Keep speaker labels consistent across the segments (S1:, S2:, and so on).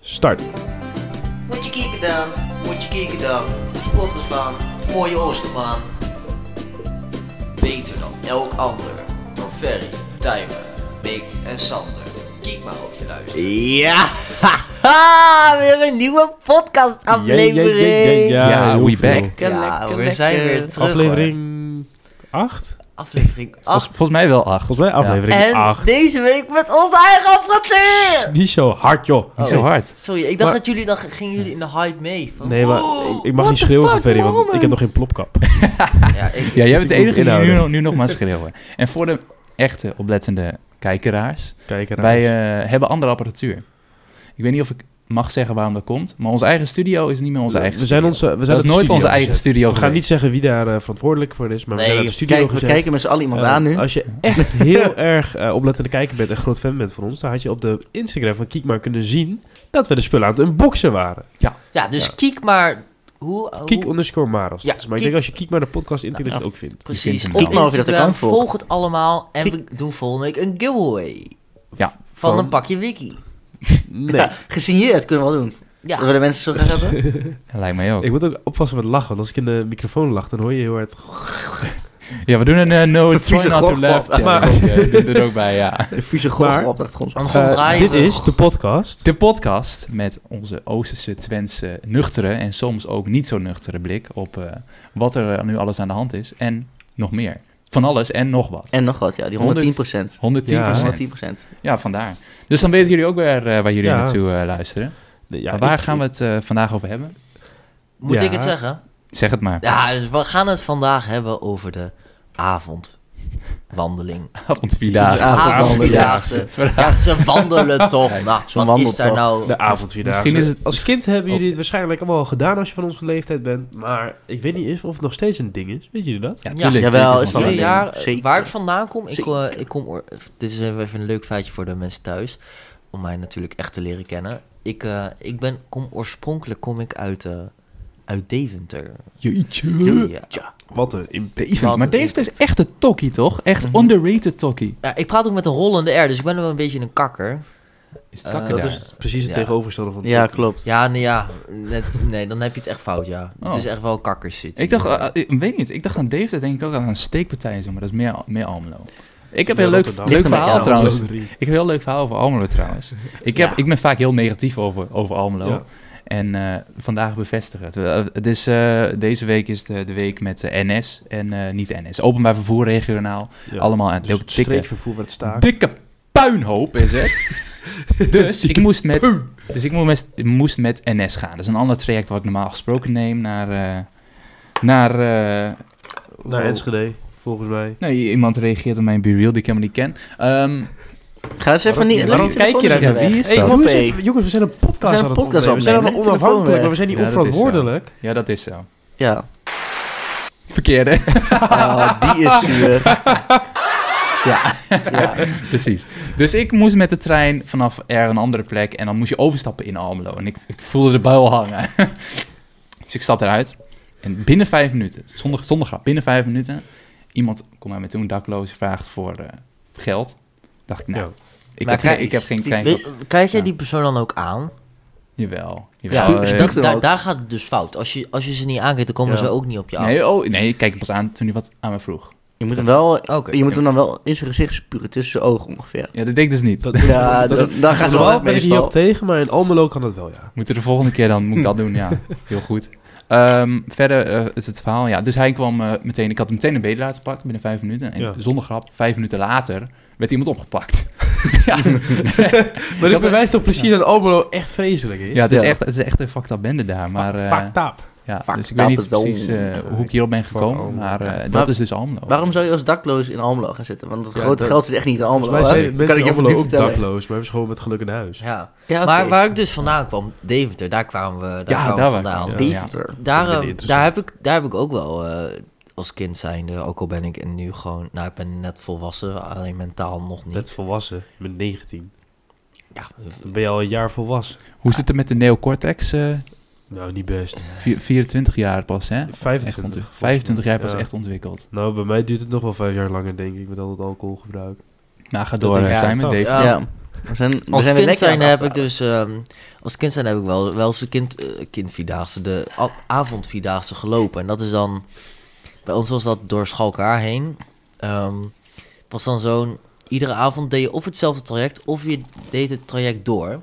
S1: start.
S2: Moet je kijken dan, moet je kijken dan. De supporters van het mooie Oosterman. Beter dan elk ander. Door Ferry, Tijmen, Mick en Sander. Kijk maar of je luistert.
S3: Ja, haha, weer een nieuwe podcastaflevering.
S1: Ja,
S4: ja,
S1: heel
S4: we
S1: veel.
S4: back.
S3: Ja, we zijn weer terug.
S1: Aflevering 8?
S3: hoor. Aflevering
S4: Volgens,
S3: 8.
S4: volgens mij wel acht.
S1: Volgens mij aflevering
S3: En
S1: 8.
S3: deze week met onze eigen apparatuur.
S1: Niet zo hard, joh.
S4: Niet zo hard.
S3: Sorry, ik dacht
S1: Maar-
S3: dat jullie dan gingen jullie in de hype mee. Van,
S1: Nee, maar ik,
S5: Oh,
S1: ik mag niet schreeuwen van Ferry, want ik heb nog geen plopkap.
S3: Ja, ik,
S4: Ja, jij
S1: Dus
S4: bent de
S1: ik moet
S4: enige die nu,
S1: inhouden.
S4: nog- nu nog maar schreeuwen. En voor de echte oplettende kijkeraars,
S1: Kijk ernaar.
S4: wij eh, hebben andere apparatuur. Ik weet niet of ik mag zeggen waarom dat komt, maar onze eigen studio is niet meer onze eigen
S1: we zijn
S4: studio.
S1: onze, we zijn uit
S4: dat is
S1: de
S4: nooit
S1: studio
S4: onze eigen
S1: gezet.
S4: studio
S1: We gaan
S4: geweest.
S1: niet zeggen wie daar eh, verantwoordelijk voor is, maar we zijn uit de
S5: Nee,
S1: studio
S5: kijk, we
S1: gezet.
S5: kijken met z'n allen iemand
S1: Eh,
S5: aan nu.
S1: Als je echt heel erg eh, oplettende kijker bent en groot fan bent van ons, dan had je op de Instagram van Kiek maar kunnen zien dat we de spullen aan het unboxen waren.
S5: Oh.
S3: ja, dus kiek maar hoe...
S1: Kiek
S3: hoe-
S1: underscore Maros.
S3: Ja,
S1: dus. maar ik
S3: Kiek-
S1: denk als je Kiek maar de podcast intikt, dat je
S5: Nou,
S1: het ook vindt.
S4: Je
S3: Precies,
S4: kunt
S3: op
S4: hem wel.
S5: Ik geloof je dat de
S3: Instagram,
S5: kant volgt.
S3: volg het allemaal. En we doen volgende week een giveaway.
S4: Ja,
S3: Van,
S1: van-
S3: een pakje wiki.
S1: Nee.
S5: Ja, gesigneerd kunnen we wel doen.
S3: Ja,
S5: Dat willen mensen zo graag hebben.
S4: Lijkt mij ook.
S1: Ik moet ook oppassen met lachen, want als ik in de microfoon lach, dan hoor je heel hard...
S4: Ja, we doen een eh, no
S5: Vieze
S4: try not to
S5: grog-
S4: laugh
S5: grog-
S4: challenge. Eh, Dit er ook bij, ja.
S5: De vieze
S1: Maar-
S5: golf op de achtergrond.
S3: want gewoon
S1: Eh,
S3: draaien
S1: dit
S3: we-
S1: is de podcast.
S4: De podcast met onze Oosterse, Twentse, nuchtere en soms ook niet zo nuchtere blik op eh, wat er eh, nu alles aan de hand is en nog meer. Van alles en nog wat.
S5: En nog wat, ja, die
S4: 100.
S5: 110 procent.
S4: 110
S1: Ja.
S5: 110
S4: Ja, vandaar. Dus dan weten jullie ook weer eh, waar jullie
S1: Ja.
S4: naartoe eh, luisteren.
S1: Nee, ja,
S4: maar waar
S1: ik-
S4: gaan we het eh, vandaag over hebben?
S3: Moet
S1: Ja.
S3: ik het zeggen?
S4: Zeg het maar.
S3: Ja, dus we gaan het vandaag hebben over de avondwandeling.
S4: Avondvierdaagse.
S5: Ja,
S3: Avondvierdaagse. Ja, ze wandelen toch. Nou,
S5: Zo'n
S3: wat is
S5: wandeltocht.
S3: daar nou...
S1: De avondvierdaagse.
S4: Misschien is het- Oh.
S1: Als kind hebben jullie het waarschijnlijk allemaal al gedaan als je van onze leeftijd bent. Maar ik weet niet eens of het nog steeds een ding is. Weet jullie dat?
S4: Ja,
S3: Ja,
S4: tuurlijk.
S5: jawel,
S4: tuurlijk
S5: is wel
S4: het
S3: Ieder
S5: een
S4: wel
S3: jaar,
S5: ding. Zeker.
S3: waar ik vandaan kom, ik,
S5: Zeker.
S3: eh, ik kom... oor- Dit is even even een leuk feitje voor de mensen thuis. Om mij natuurlijk echt te leren kennen. Ik, eh, ik ben, kom oorspronkelijk kom ik uit, eh, uit Deventer.
S4: Jeetje.
S3: Ja.
S1: Wat een impact.
S4: Even, Maar Dave is echt een tokkie, toch? Echt
S3: Mhm.
S4: underrated tokkie.
S3: Ja, ik praat ook met een rollende R, dus ik ben wel een beetje een kakker.
S4: Is
S3: Eh,
S4: het kakker
S1: Dat
S4: daar?
S1: is precies het
S3: Ja.
S1: tegenovergestelde van...
S5: Ja, klopt.
S3: Ja, nee, ja. Net, nee, dan heb je het echt fout, ja.
S4: Oh.
S3: Het is echt wel kakkers zitten.
S4: Ik dacht, eh, ik weet niet, ik dacht aan Dave, dat denk ik ook aan een steekpartij en zo, maar dat is meer, meer Almelo. Ik heb
S1: Ja,
S4: een leuk,
S1: Rotterdam.
S4: leuk
S5: Ligt een beetje
S4: verhaal
S5: aan
S4: trouwens.
S1: Rotterdam.
S4: Ik heb een heel leuk verhaal over Almelo trouwens. Ik, heb,
S3: Ja.
S4: ik ben vaak heel negatief over, over Almelo.
S1: Ja.
S4: En eh, vandaag bevestigen. Het, Eh, het is, eh, deze week is de, de week met de NS en eh, niet NS. Openbaar vervoer regionaal.
S1: Ja.
S4: Allemaal aan het
S1: Dus het
S4: lopen dikke,
S1: streekvervoer werd staakt.
S4: dikke puinhoop is het. dus ik moest met, dus ik moest met, ik moest met NS gaan. Dat is een ander traject wat ik normaal gesproken neem naar... eh, naar eh,
S1: Naar
S4: wow.
S1: Enschede, volgens mij.
S4: Nou, iemand reageert op mijn B-reel die ik helemaal niet ken. Ehm,
S5: Ga eens
S3: Oh,
S5: even niet...
S4: waarom kijk je daar-
S5: naar
S4: wie is
S1: Hey,
S4: dat?
S1: doe eens
S5: Hoppé.
S1: even- jongens, we zijn een podcast
S5: We zijn een
S1: aan het
S5: podcast
S1: opnemen. We zijn
S5: opnemen.
S1: allemaal onafhankelijk, maar we zijn niet
S4: Ja, dat is zo.
S1: onverantwoordelijk.
S4: ja, dat is zo.
S5: Ja.
S4: Verkeerde.
S5: Ah, die is zuur. Ja. ja.
S4: Precies. Dus ik moest met de trein vanaf er een andere plek en dan moest je overstappen in Almelo. En ik, ik voelde de buil hangen. dus ik stap eruit en binnen vijf minuten, zonder, zonder grap, binnen vijf minuten, iemand komt mij met toen dakloos vraagt voor eh, geld. Dacht ik, nou,
S1: Ja.
S4: ik,
S3: Maar
S4: heb,
S3: kijk,
S4: geen- ik heb geen klein
S3: Weet- Kijk jij
S4: Ja.
S3: die persoon dan ook aan?
S4: Jawel.
S3: Ja,
S4: jawel.
S5: spuugt
S4: Eh,
S3: dat-
S5: spuugt hem
S3: daar,
S5: ook.
S3: daar gaat het dus fout. Als je, als je ze niet aankijkt, dan komen
S1: Ja.
S3: ze ook niet op je af.
S4: nee, oh, nee, ik kijk hem pas aan toen hij wat aan me vroeg.
S5: Je moet hem wel...
S3: Oh, Oké.
S5: Je moet hem dan wel in zijn gezicht spuren, tussen zijn ogen ongeveer.
S4: Ja, dat deed ik dus niet.
S1: Dat-
S5: Ja,
S1: dat-
S5: dat, daar gaan ze wel
S1: Normaal
S5: uit
S1: ben ik hierop
S5: meestal.
S1: tegen, maar in Almelo kan dat wel, ja.
S4: Moeten we de volgende keer dan moet ik dat doen, ja. Heel goed. Ehm, verder eh, is het verhaal, ja. Dus hij kwam eh, meteen, ik had hem meteen een bedelaar te pakken binnen vijf minuten. En
S1: Ja.
S4: zonder grap, vijf minuten later werd iemand opgepakt. ja,
S1: Maar
S4: dat
S1: dit bewijst toch precies dat Almelo echt vreselijk is?
S4: ja het, is
S5: Ja.
S4: echt, het is echt een fucked up bende daar. Maar, eh,
S1: Fucked up.
S4: ja,
S5: Fucked
S4: dus ik weet
S5: up
S4: niet
S5: zone.
S4: precies eh, hoe ik hierop ben
S1: Fuck
S4: gekomen,
S1: Almelo.
S4: maar eh, dat
S5: Maar-
S4: is dus Almelo.
S5: Waarom zou je als dakloos in Almelo gaan zitten? Want het
S1: Ja,
S5: grote
S1: dat-
S5: geld zit echt niet in Almelo.
S1: Volgens mij
S5: hè?
S1: zijn mensen in
S5: je
S1: Almelo
S5: nu
S1: ook
S5: vertellen.
S1: dakloos, maar hebben ze gewoon met geluk een huis.
S3: Ja.
S5: Ja, oké.
S3: Maar waar ik dus vandaan kwam, Deventer, daar kwamen we, daar
S4: Ja,
S3: kwamen
S4: daar
S3: we
S4: waren we,
S3: vandaan.
S4: ja.
S5: Deventer.
S3: Daar,
S1: Dat
S3: eh,
S1: ben je
S3: daar, heb ik, daar heb ik ook wel eh, als kind zijnde, ook al ben ik nu gewoon, nou ik ben net volwassen, alleen mentaal nog niet.
S1: Net volwassen, je bent 19.
S3: Ja,
S1: Dan ben je al een jaar volwassen.
S4: Hoe zit het met de neocortex? eh,
S1: Nou, niet best.
S4: vier- 24 jaar pas, hè? Echt
S1: 25.
S4: ontwikkeld. 25 jaar pas
S1: Ja.
S4: echt ontwikkeld.
S1: Nou, bij mij duurt het nog wel vijf jaar langer, denk ik, met al dat alcoholgebruik.
S4: Nou, ga door.
S1: denk ik
S4: eh,
S1: echt
S4: Simon,
S1: ook.
S4: Dave.
S3: Ja.
S5: Ja. We zijn, we
S3: Als
S5: zijn weer
S3: kind
S5: lekker
S3: zijn
S5: aan het
S3: heb ik dus... ehm, als kind zijn heb ik wel, wel eens de kind, eh, kindvierdaagse, de a- avondvierdaagse gelopen. En dat is dan... Bij ons was dat door Schalkaar heen. Ehm, was dan zo'n... Iedere avond deed je of hetzelfde traject, of je deed het traject door.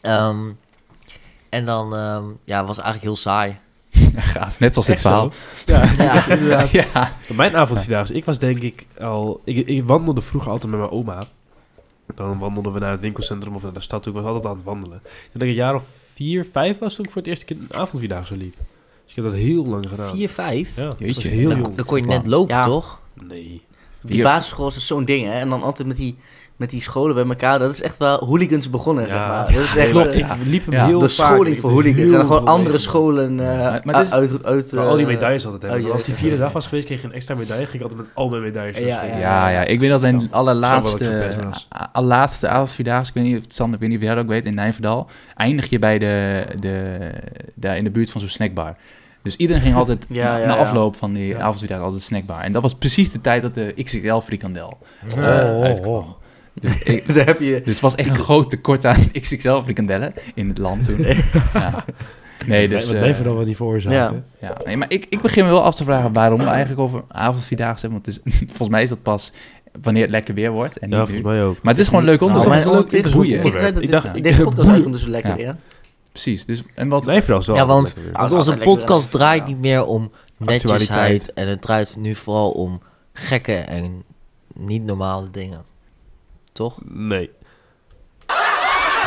S3: Ehm, en dan ehm, ja, was eigenlijk heel saai.
S4: Gaaf, net als dit
S1: Echt zo?
S4: verhaal.
S1: Ja.
S3: Ja.
S1: Inderdaad.
S4: Ja.
S1: Mijn avondvierdaagse, ik was denk ik al... Ik, ik wandelde vroeger altijd met mijn oma. Dan wandelden we naar het winkelcentrum of naar de stad toe. Ik was altijd aan het wandelen. Ik denk dat ik een jaar of vier, vijf was toen ik voor het eerste keer een avondvierdaagse liep. Dus ik heb dat heel lang gedaan.
S3: 4, 5?
S1: Ja, dat was
S4: Jeetje.
S1: heel
S4: Nou,
S1: jong.
S3: Dan kon je net lopen,
S5: Ja.
S3: toch?
S1: Nee.
S5: Op die basisschool is dat zo'n ding, hè? En dan altijd met die, met die scholen bij elkaar. Dat is echt wel hooligans begonnen,
S1: Ja.
S5: zeg maar. Dat is echt
S1: Klopt,
S5: eh,
S1: ik liep hem
S4: Ja.
S1: heel
S5: de
S1: vaak. Ik
S5: scholing voor
S1: heb heel
S5: hooligans. En dan gewoon
S1: veel
S5: andere
S1: meegemaakt.
S5: scholen eh,
S4: Maar- maar het is-
S5: uit... uit
S1: Maar
S5: eh,
S1: al die medailles altijd hebben.
S5: oh,
S1: Want als die
S5: jeetje.
S1: vierde dag was geweest, kreeg je een extra medaille. Ging ik altijd met al mijn medailles naar
S5: Ja,
S1: school.
S5: ja.
S4: Ja, ja, ik weet dat mijn
S1: Zo wel dat ik
S4: allerlaatste,
S1: gepest was.
S4: a- allerlaatste avondvierdaagse, ik weet niet, of Sander, ik weet niet of jij dat ook weet, in Nijverdal, eindig je bij de, de, daar in de buurt van zo'n snackbar. Dus iedereen ging altijd
S5: Ja,
S4: na,
S5: ja,
S4: na
S5: ja.
S4: afloop van die
S1: Ja.
S4: avondvierdaag altijd snackbar. En dat was precies de tijd dat de XXL frikandel eh,
S1: Oh, oh,
S4: uitkwam.
S1: oh.
S4: Dus, ik-
S5: Daar heb je...
S4: dus het was echt een groot tekort aan XXL frikandellen in het land toen. Ja. Nee, dus...
S1: Wat
S4: eh,
S1: blijven dan wel niet veroorzaakt.
S5: ja.
S1: hè?
S4: ja, nee, maar ik, ik begin me wel af te vragen waarom we eigenlijk over avondvierdaagse hebben. Want het is, volgens mij is dat pas wanneer het lekker weer wordt. En niet
S1: Ja,
S4: nu.
S1: volgens mij ook.
S4: Maar het is gewoon een leuk
S5: Nou,
S4: onderwerp.
S5: maar
S4: Het is gewoon
S5: dit-
S4: een boeien.
S5: dit- dit-
S1: Ik dacht-
S5: dit- Deze podcast
S1: boeien.
S5: uitkomt dus lekker
S4: Ja.
S5: weer.
S4: Precies. Dus, en wat,
S1: Nijverdal is wel
S3: Ja, want-
S1: lekker weer.
S3: Want
S5: dat
S3: onze
S5: is lekker
S3: podcast
S5: wel.
S3: draait
S5: Ja.
S3: niet meer om netjesheid.
S1: Actualiteit.
S3: En het draait nu vooral om gekke en niet normale dingen. Toch?
S1: Nee.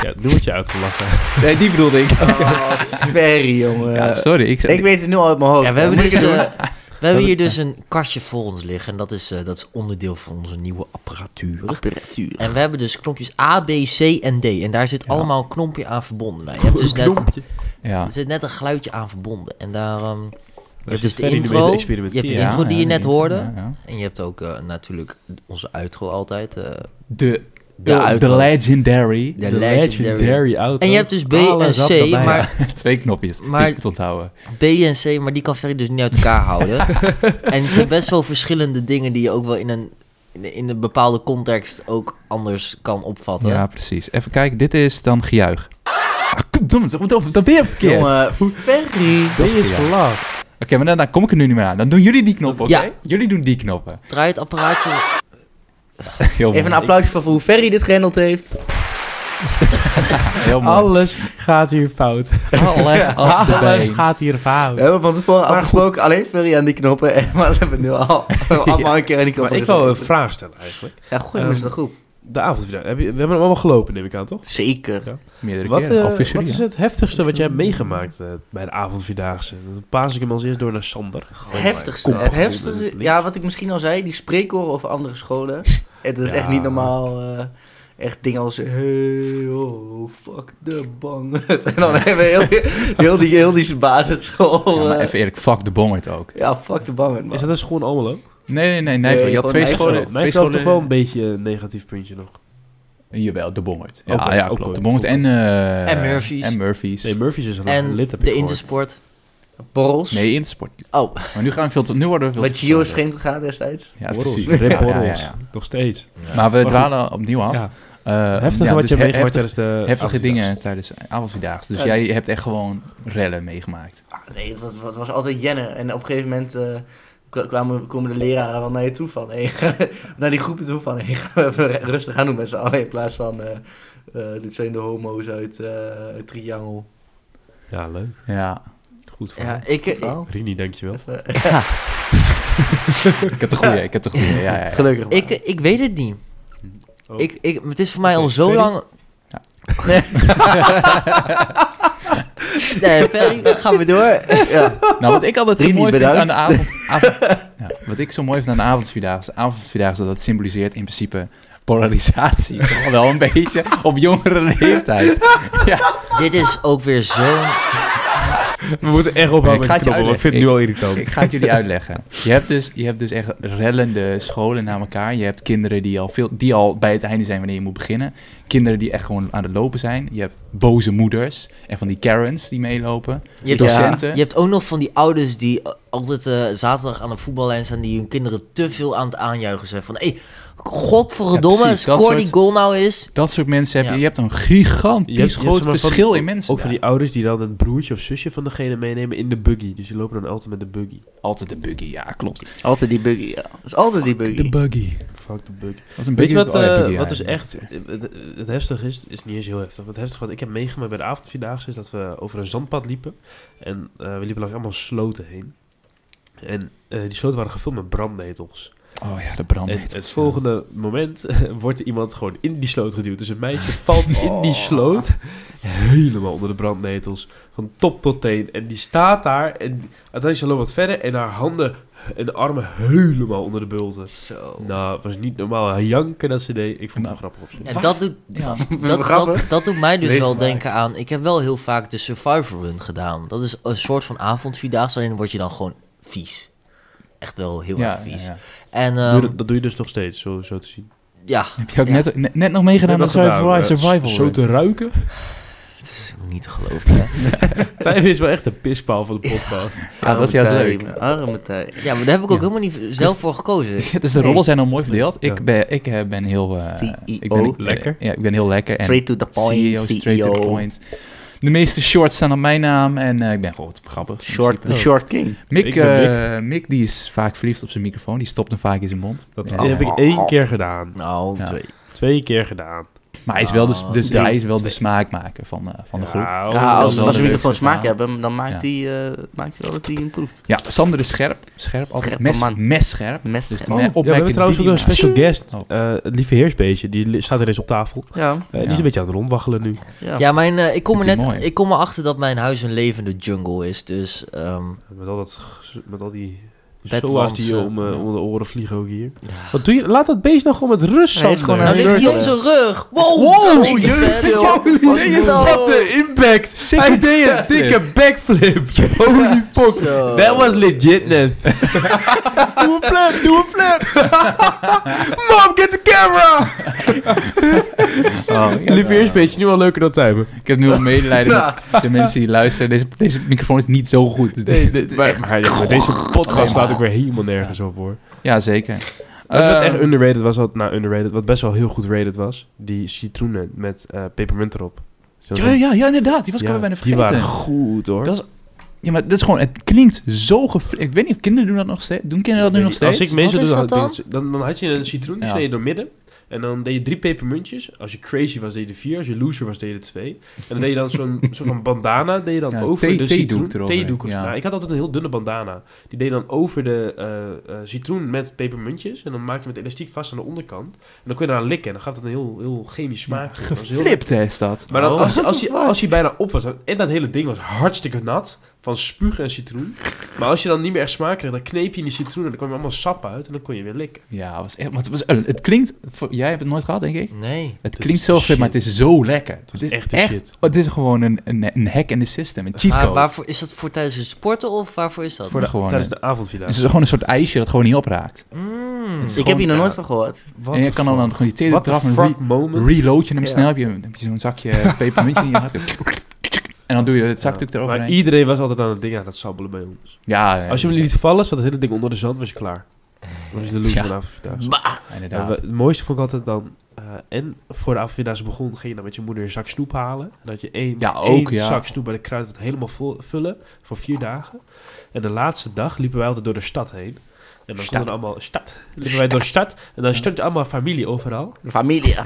S1: Ja, doe wat je uitgelachen.
S4: nee, die bedoelde ik. Eh,
S5: Oh, Ferry, jongen.
S4: Ja, sorry. Ik,
S5: ik weet het nu al uit mijn hoofd.
S3: Ja, we hebben,
S5: Moet ik
S3: dus,
S5: het doen?
S3: eh, we hebben hier dus een kastje voor ons liggen. En dat is, eh, dat is onderdeel van onze nieuwe apparatuur.
S5: Apparatuur.
S3: En we hebben dus knopjes A, B, C en D. En daar zit allemaal een knompje aan verbonden. Nou, je hebt dus net,
S4: ja.
S3: er zit net een geluidje aan verbonden. En daar, ehm, je
S1: zit
S3: hebt dus de
S1: Ferry ermee te
S3: intro, je
S1: experimenteren.
S3: hebt de
S1: Ja,
S3: intro die
S4: ja,
S3: je net
S4: die
S3: hoorde.
S4: intro, ja, ja.
S3: En je hebt ook eh, natuurlijk onze outro altijd. eh,
S4: De,
S3: de,
S4: de,
S3: outro.
S4: legendary.
S3: De legendary.
S1: auto.
S3: En je hebt dus B
S1: Alles
S3: en
S1: zat
S3: C,
S1: erbij.
S3: maar
S4: Twee knopjes.
S3: Maar-
S4: Maar, die te onthouden.
S3: B en C, maar die kan Ferry dus niet uit elkaar houden. En het zijn best wel verschillende dingen die je ook wel in een, in een- in een bepaalde context ook anders kan opvatten.
S4: Ja, precies. Even kijken. Dit is dan gejuich. Ah, verdomme, zeg maar dat- dat ben je verkeerd.
S5: Jongen, Ferry.
S1: Dat
S4: Dat is
S1: is gelach.
S4: Oké, maar daarna kom ik er nu niet meer aan. Dan doen jullie die knoppen, oké?
S3: Ja.
S4: Jullie doen die knoppen.
S3: Draai het apparaatje.
S1: Ah,
S4: Heel
S5: Even een
S4: mooi.
S5: applausje voor hoe Ferry dit gehandeld heeft.
S4: Heel mooi.
S1: Alles gaat hier fout.
S4: Alles, alles
S1: Alles
S4: erbij.
S1: gaat hier
S5: We
S1: fout.
S5: hebben van tevoren afgesproken alleen Ferry aan die knoppen. En maar we hebben nu al allemaal een keer aan die knoppen
S1: Maar ik
S5: gezet.
S1: wil een vraag stellen eigenlijk.
S5: Ja, gooi maar eens
S1: Ehm,
S5: de groep.
S1: De avondvierdaagse. Heb je- We hebben hem allemaal gelopen, neem ik aan, toch?
S5: Zeker.
S4: Meerdere
S1: Wat,
S4: keren.
S1: eh,
S4: Al visserie,
S1: wat is
S4: hè?
S1: het heftigste wat jij hebt meegemaakt eh, bij de avondvierdaagse? Dan paas ik hem als eerst door naar Sander.
S5: Oh Heftigste.
S1: Kom,
S5: Het
S1: kom,
S5: heftigste.
S1: kom,
S5: Ja, wat ik misschien al zei, die spreekkoren over andere scholen. Het is
S1: Ja.
S5: echt niet normaal. eh, echt dingen als. Hey, oh, fuck de bang. en dan hebben we heel, die- heel, die, heel die basisschool.
S4: Ja, maar
S5: eh,
S4: even eerlijk, fuck de bongert ook.
S5: Ja, fuck de bang.
S1: Is dat dus gewoon allemaal ook?
S4: Nee, nee, nee, Nijvel.
S5: Nee,
S4: je had
S5: gewoon
S4: twee
S5: Nijvel.
S4: scholen.
S1: Mij
S4: Twee
S1: is toch
S4: scholen.
S1: wel een beetje een negatief puntje nog.
S4: Jawel, de Bongert. Ja,
S1: Oké,
S4: ja
S1: oké,
S4: klopt. de Bongert
S1: oké.
S4: en... eh,
S3: En Murphy's.
S4: En Murphy's.
S1: Nee,
S4: Nee,
S1: Murphy's is een
S3: En
S1: lid, heb ik
S3: de
S1: gehoord.
S3: Intersport.
S5: Borrels.
S4: Intersport.
S3: Oh,
S4: Maar nu gaan we veel te... Nu worden we veel
S5: Wat
S4: te
S5: Gio is
S4: persoonlijk.
S5: vreemd gegaan destijds.
S4: Ja,
S1: Borrels.
S4: precies.
S1: Rip
S4: Ja, ja, ja,
S1: Borrels.
S4: ja.
S1: Nog steeds.
S4: Maar we
S1: Maar goed.
S4: dwalen opnieuw af.
S1: Ja.
S4: Eh,
S1: Heftige
S4: ja,
S1: wat
S4: dus
S1: je
S4: he-
S1: hebt meegemaakt
S4: heftig-
S1: tijdens eh, de...
S4: Heftige
S1: avondvierdaagse.
S4: dingen tijdens avondvierdaagse. Dus
S5: Ja.
S4: jij hebt echt gewoon rellen meegemaakt.
S5: Ah, nee, het was, het was altijd jennen. En op een gegeven moment eh, k- kwamen, komen de leraren wel naar je toe van... Hey, naar die groepen toe van... Hey, gaan we even rustig aan doen met z'n allen. In plaats van... eh, eh, dit zijn de homo's uit eh, uit Triangel.
S1: Ja, leuk.
S4: Ja.
S1: Goed verhaal.
S3: ja, ik, ik-
S5: Verhaal.
S1: Rini, dankjewel.
S5: Even-
S4: Ik heb de goede, ik heb de goede. Ja, ja, ja.
S5: Gelukkig maar.
S3: ik, ik weet het niet.
S1: Oh.
S3: Ik, ik, het is voor mij al
S1: Oké,
S3: zo
S1: Ferry?
S3: lang... Nee, Ferry, gaan we door.
S5: Ja.
S4: Nou, wat ik altijd zo
S5: Rini,
S4: mooi
S5: bedankt.
S4: vind aan de avond... avond- ja, wat ik zo mooi vind aan de avondvierdaagse... Avondvierdaagse, dat symboliseert in principe polarisatie. Toch wel een beetje op jongere leeftijd.
S3: Dit is ook weer zo'n...
S1: Oh, We moeten echt ophouden
S4: Ik
S1: met die
S4: ga het je
S1: knoppen, want ik vind het nu al irritant.
S4: Ik ga het jullie uitleggen. Je hebt dus, je hebt dus echt rellende scholen na elkaar. Je hebt kinderen die al, veel, die al bij het einde zijn wanneer je moet beginnen. Kinderen die echt gewoon aan het lopen zijn. Je hebt boze moeders. En van die Karens die meelopen.
S3: Je hebt,
S4: Docenten.
S3: je hebt ook nog van die ouders die eh, altijd eh, zaterdag aan de voetballijn staan... die hun kinderen te veel aan het aanjuichen zijn. Van, hé, Godverdomme,
S4: Ja, precies, dat
S3: score die
S4: soort-
S3: goal nou is.
S4: Dat soort mensen heb je.
S3: Ja.
S4: Je hebt een gigantisch
S1: Je hebt- je hebt,
S4: groot
S1: zeg maar, van-
S4: verschil in mensen.
S1: Ook van die ouders die dan het broertje of zusje van degene meenemen in de buggy. Dus die lopen dan altijd met de buggy.
S4: daar. Altijd de buggy, ja, klopt.
S5: Altijd die buggy, ja. Dat is altijd die buggy.
S4: buggy.
S1: Fuck de buggy.
S4: Dat is een
S1: Weet je
S4: buggy.
S1: wat,
S4: oh ja,
S1: eh,
S4: buggy,
S1: wat
S4: ja,
S1: dus
S4: ja.
S1: echt het, het- het heftige is? is niet eens heel heftig. Wat heftig wat ik heb meegemaakt bij de avondvierdaagse is dat we over een zandpad liepen. En eh, we liepen langs allemaal sloten heen. En eh, die sloten waren gevuld met brandnetels.
S4: Oh ja, de
S1: en
S4: brandnetels.
S1: het
S4: ja.
S1: volgende moment wordt er iemand gewoon in die sloot geduwd. Dus een meisje valt in
S4: Oh.
S1: die sloot. Helemaal onder de brandnetels. Van top tot teen. En die staat daar. En uiteindelijk loopt wat verder. En haar handen en armen helemaal onder de bulten.
S3: Zo.
S1: Nou, het was niet normaal. Hij Janken dat ze deed. Ik
S4: Nou.
S1: vond het wel grappig op zich.
S3: En dat doet,
S4: Ja.
S3: dat, dat,
S5: Grappig.
S3: dat doet mij dus
S5: Lees
S3: wel
S5: maar.
S3: denken aan... Ik heb wel heel vaak de Survivor Run gedaan. Dat is een soort van avondvierdaagse, alleen word je dan gewoon vies. Echt wel heel
S4: Ja,
S3: erg
S4: ja,
S3: vies.
S4: ja.
S3: En
S1: Doe je
S3: ehm,
S1: dat, dat doe je dus nog steeds, zo, zo te zien.
S3: ja,
S4: Heb je ook
S3: Ja.
S4: net, net, net nog meegedaan aan
S1: Ik heb dat gedaan,
S4: Survival?
S1: eh,
S4: survival
S1: Zo
S4: Run?
S1: te ruiken.
S3: het is niet te geloven. Hè?
S1: Tijf is wel echt de pispaal van de podcast.
S4: Ja, dat is juist
S5: Arme
S4: leuk.
S5: Tijm, Arme tijd.
S3: Ja, maar daar heb ik ook
S4: Ja.
S3: helemaal niet zelf voor gekozen.
S4: Ja, dus de rollen zijn al mooi verdeeld. Ik
S1: Eh, Ja.
S4: ben, ik eh, ben heel... eh,
S5: CEO.
S4: ik ben, ik-
S1: Lekker.
S4: Ja, ik ben heel lekker. en
S5: E Straight to the point, E
S4: CEO, E straight to the point. De meeste shorts staan op mijn naam en eh, ik ben gewoon grappig. in
S5: Short,
S4: principe.
S5: the short king.
S1: Ik
S4: Mick,
S1: ben
S4: eh, Mick die is vaak verliefd op zijn microfoon. Die stopt hem vaak in zijn mond. Eh,
S1: Dat
S4: Ja.
S1: heb ik één keer gedaan.
S3: Nou,
S4: Ja.
S3: twee.
S1: Twee keer gedaan.
S4: Maar hij is wel de,
S3: Ah,
S4: dus
S1: nee.
S4: hij is wel de smaakmaker van, eh, van de
S1: Ja,
S4: groep.
S1: als-
S4: Vertel
S5: Ja,
S1: dat
S5: als,
S1: wel
S5: als
S4: de
S5: we
S4: leukste
S5: microfoon smaak
S4: verhaal.
S5: hebben, dan maakt
S4: Ja.
S5: hij eh, maakt hij wel dat hij hem proeft.
S4: Ja, Sander is scherp. Scherp, altijd
S5: Scherpe
S4: mes,
S5: man.
S4: messcherp.
S5: Mes.
S4: Dus de
S5: Oh.
S4: me-
S5: Ja,
S1: Ja, we hebben
S4: opmerking
S1: trouwens ook
S4: die
S1: een
S4: hij
S1: special guest.
S4: Oh.
S1: eh, het lieve heersbeestje, die li- staat er eens op tafel.
S5: Ja,
S1: Eh, Die
S4: Ja.
S1: is een beetje aan het rondwaggelen nu.
S5: ja.
S3: Ja, mijn, eh, ik, kom er
S4: Vindt hij
S3: net,
S4: mooi.
S3: ik kom erachter dat mijn huis een levende jungle is. Dus ehm,
S1: Met al, dat, gez- met al die
S3: Bedwansen.
S1: soa's die je om, eh,
S3: Ja.
S1: onder de oren vliegen ook hier. Wat doe je? Laat dat beest nou gewoon met rust,
S5: Hij
S1: Sander.
S5: is gewoon
S3: nou
S5: aan
S3: ligt hij op
S5: eh,
S3: zijn rug. Wow,
S1: Wow,
S3: dikke vet.
S1: Je zat de impact. Hij deed een dikke backflip. Holy fuck. That was legit, man. doe een flip, doe een flip. Mom, get the camera.
S4: Oh, ja,
S1: Lieve
S4: ja.
S1: eerstbeetje, nu al leuker dan tuimen.
S4: Ik heb nu al medelijden met de mensen die luisteren. Deze, deze microfoon is niet zo goed. Het is-
S1: maar, maar deze podcast staat ook weer helemaal nergens op, hoor.
S4: Ja, zeker.
S1: Weet je wat
S4: Eh,
S1: echt underrated was, wat, nou underrated, wat best wel heel goed rated was, die citroenen met eh, pepermunt erop. Zo-
S4: ja, ja, ja, inderdaad. Die was ik
S1: Ja,
S4: alweer bijna
S1: Die waren
S4: vergeten.
S1: goed hoor.
S4: Dat is Ja, maar dat is gewoon... Het klinkt zo gefl... Ik weet niet of kinderen doen dat nog steeds. Doen kinderen dat nu nog steeds?
S1: Als ik mee
S3: Wat
S1: zou doen,
S3: is
S1: dan,
S3: dat
S1: had- dan, dan had je een citroen, die
S4: Ja.
S1: sneed je door midden. En dan deed je drie pepermuntjes. Als je crazy was, deed je er vier. Als je loser was, deed je er twee. En dan deed je dan zo'n soort van bandana, deed je dan
S4: Ja,
S1: over
S4: thee-
S1: de
S4: theedoek
S1: citroen.
S4: eroverheen,
S1: Theedoek of
S4: ja.
S1: nou, Ik had altijd een heel dunne bandana. Die deed je dan over de eh, eh, citroen met pepermuntjes. En dan maak je met elastiek vast aan de onderkant. En dan kon je eraan likken. En dan gaf het een heel, heel chemisch smaak. Dat was heel
S4: Geflipt is dat.
S1: maar dan,
S4: Oh.
S1: als, hij- als,
S5: the
S1: hij, als hij bijna op was, dan- en dat hele ding was hartstikke nat, van spuug en citroen. Maar als je dan niet meer echt smaak kreeg, dan kneep je in die citroen en dan kwam er allemaal sap uit en dan kon je weer likken.
S4: Ja, was echt, maar het, was, eh, het klinkt... voor- Jij hebt het nooit gehad, denk ik.
S3: Nee.
S4: Het
S1: is
S4: klinkt zo
S1: shit.
S4: geflipt, maar het is zo lekker. Het,
S1: was
S4: is
S1: echt
S4: echt,
S1: de shit.
S4: Het is gewoon een, een, een hack in the system. Een cheat
S3: Maar
S4: code.
S3: waarvoor, is dat voor tijdens het sporten of waarvoor is dat?
S4: Voor de, gewoon,
S1: Tijdens
S4: een-
S1: de avondvierdaagse.
S4: Dus het is gewoon een soort ijsje dat gewoon niet opraakt.
S3: Mm.
S4: Het is
S5: Ik
S4: gewoon-
S5: heb hier nog
S4: ja.
S5: nooit van gehoord.
S1: What
S4: en je
S1: the
S4: kan dan,
S1: fuck?
S4: dan gewoon die tele
S1: What the
S4: eraf en
S1: fuck
S4: re-
S1: moment.
S4: reload je hem
S5: Ja.
S4: snel. Heb je, heb je zo'n zakje pepermuntje in je hart. En dan doe je het zakdoek
S1: Ja.
S4: eroverheen.
S1: Maar iedereen was altijd aan het ding aan het sabbelen bij ons.
S4: ja, ja,
S1: Als je hem liet vallen, zat het hele ding onder de zand, was je klaar. Dat was de loser
S4: Ja.
S1: van de avondvierdaagse.
S5: Bah.
S1: Ja,
S4: inderdaad.
S1: we- het mooiste vond ik altijd dan... eh, en voor de avondvierdaagse begon, ging je dan met je moeder een zak snoep halen. En dan had je één,
S4: Ja,
S1: één
S4: ook, ja.
S1: zak snoep bij de kruidvat helemaal vol, vullen voor vier dagen. En de laatste dag liepen wij altijd door de stad heen. En dan
S4: Stad.
S1: stonden allemaal... Stad. Liepen wij door de stad. En dan stond allemaal familie overal.
S5: Familia.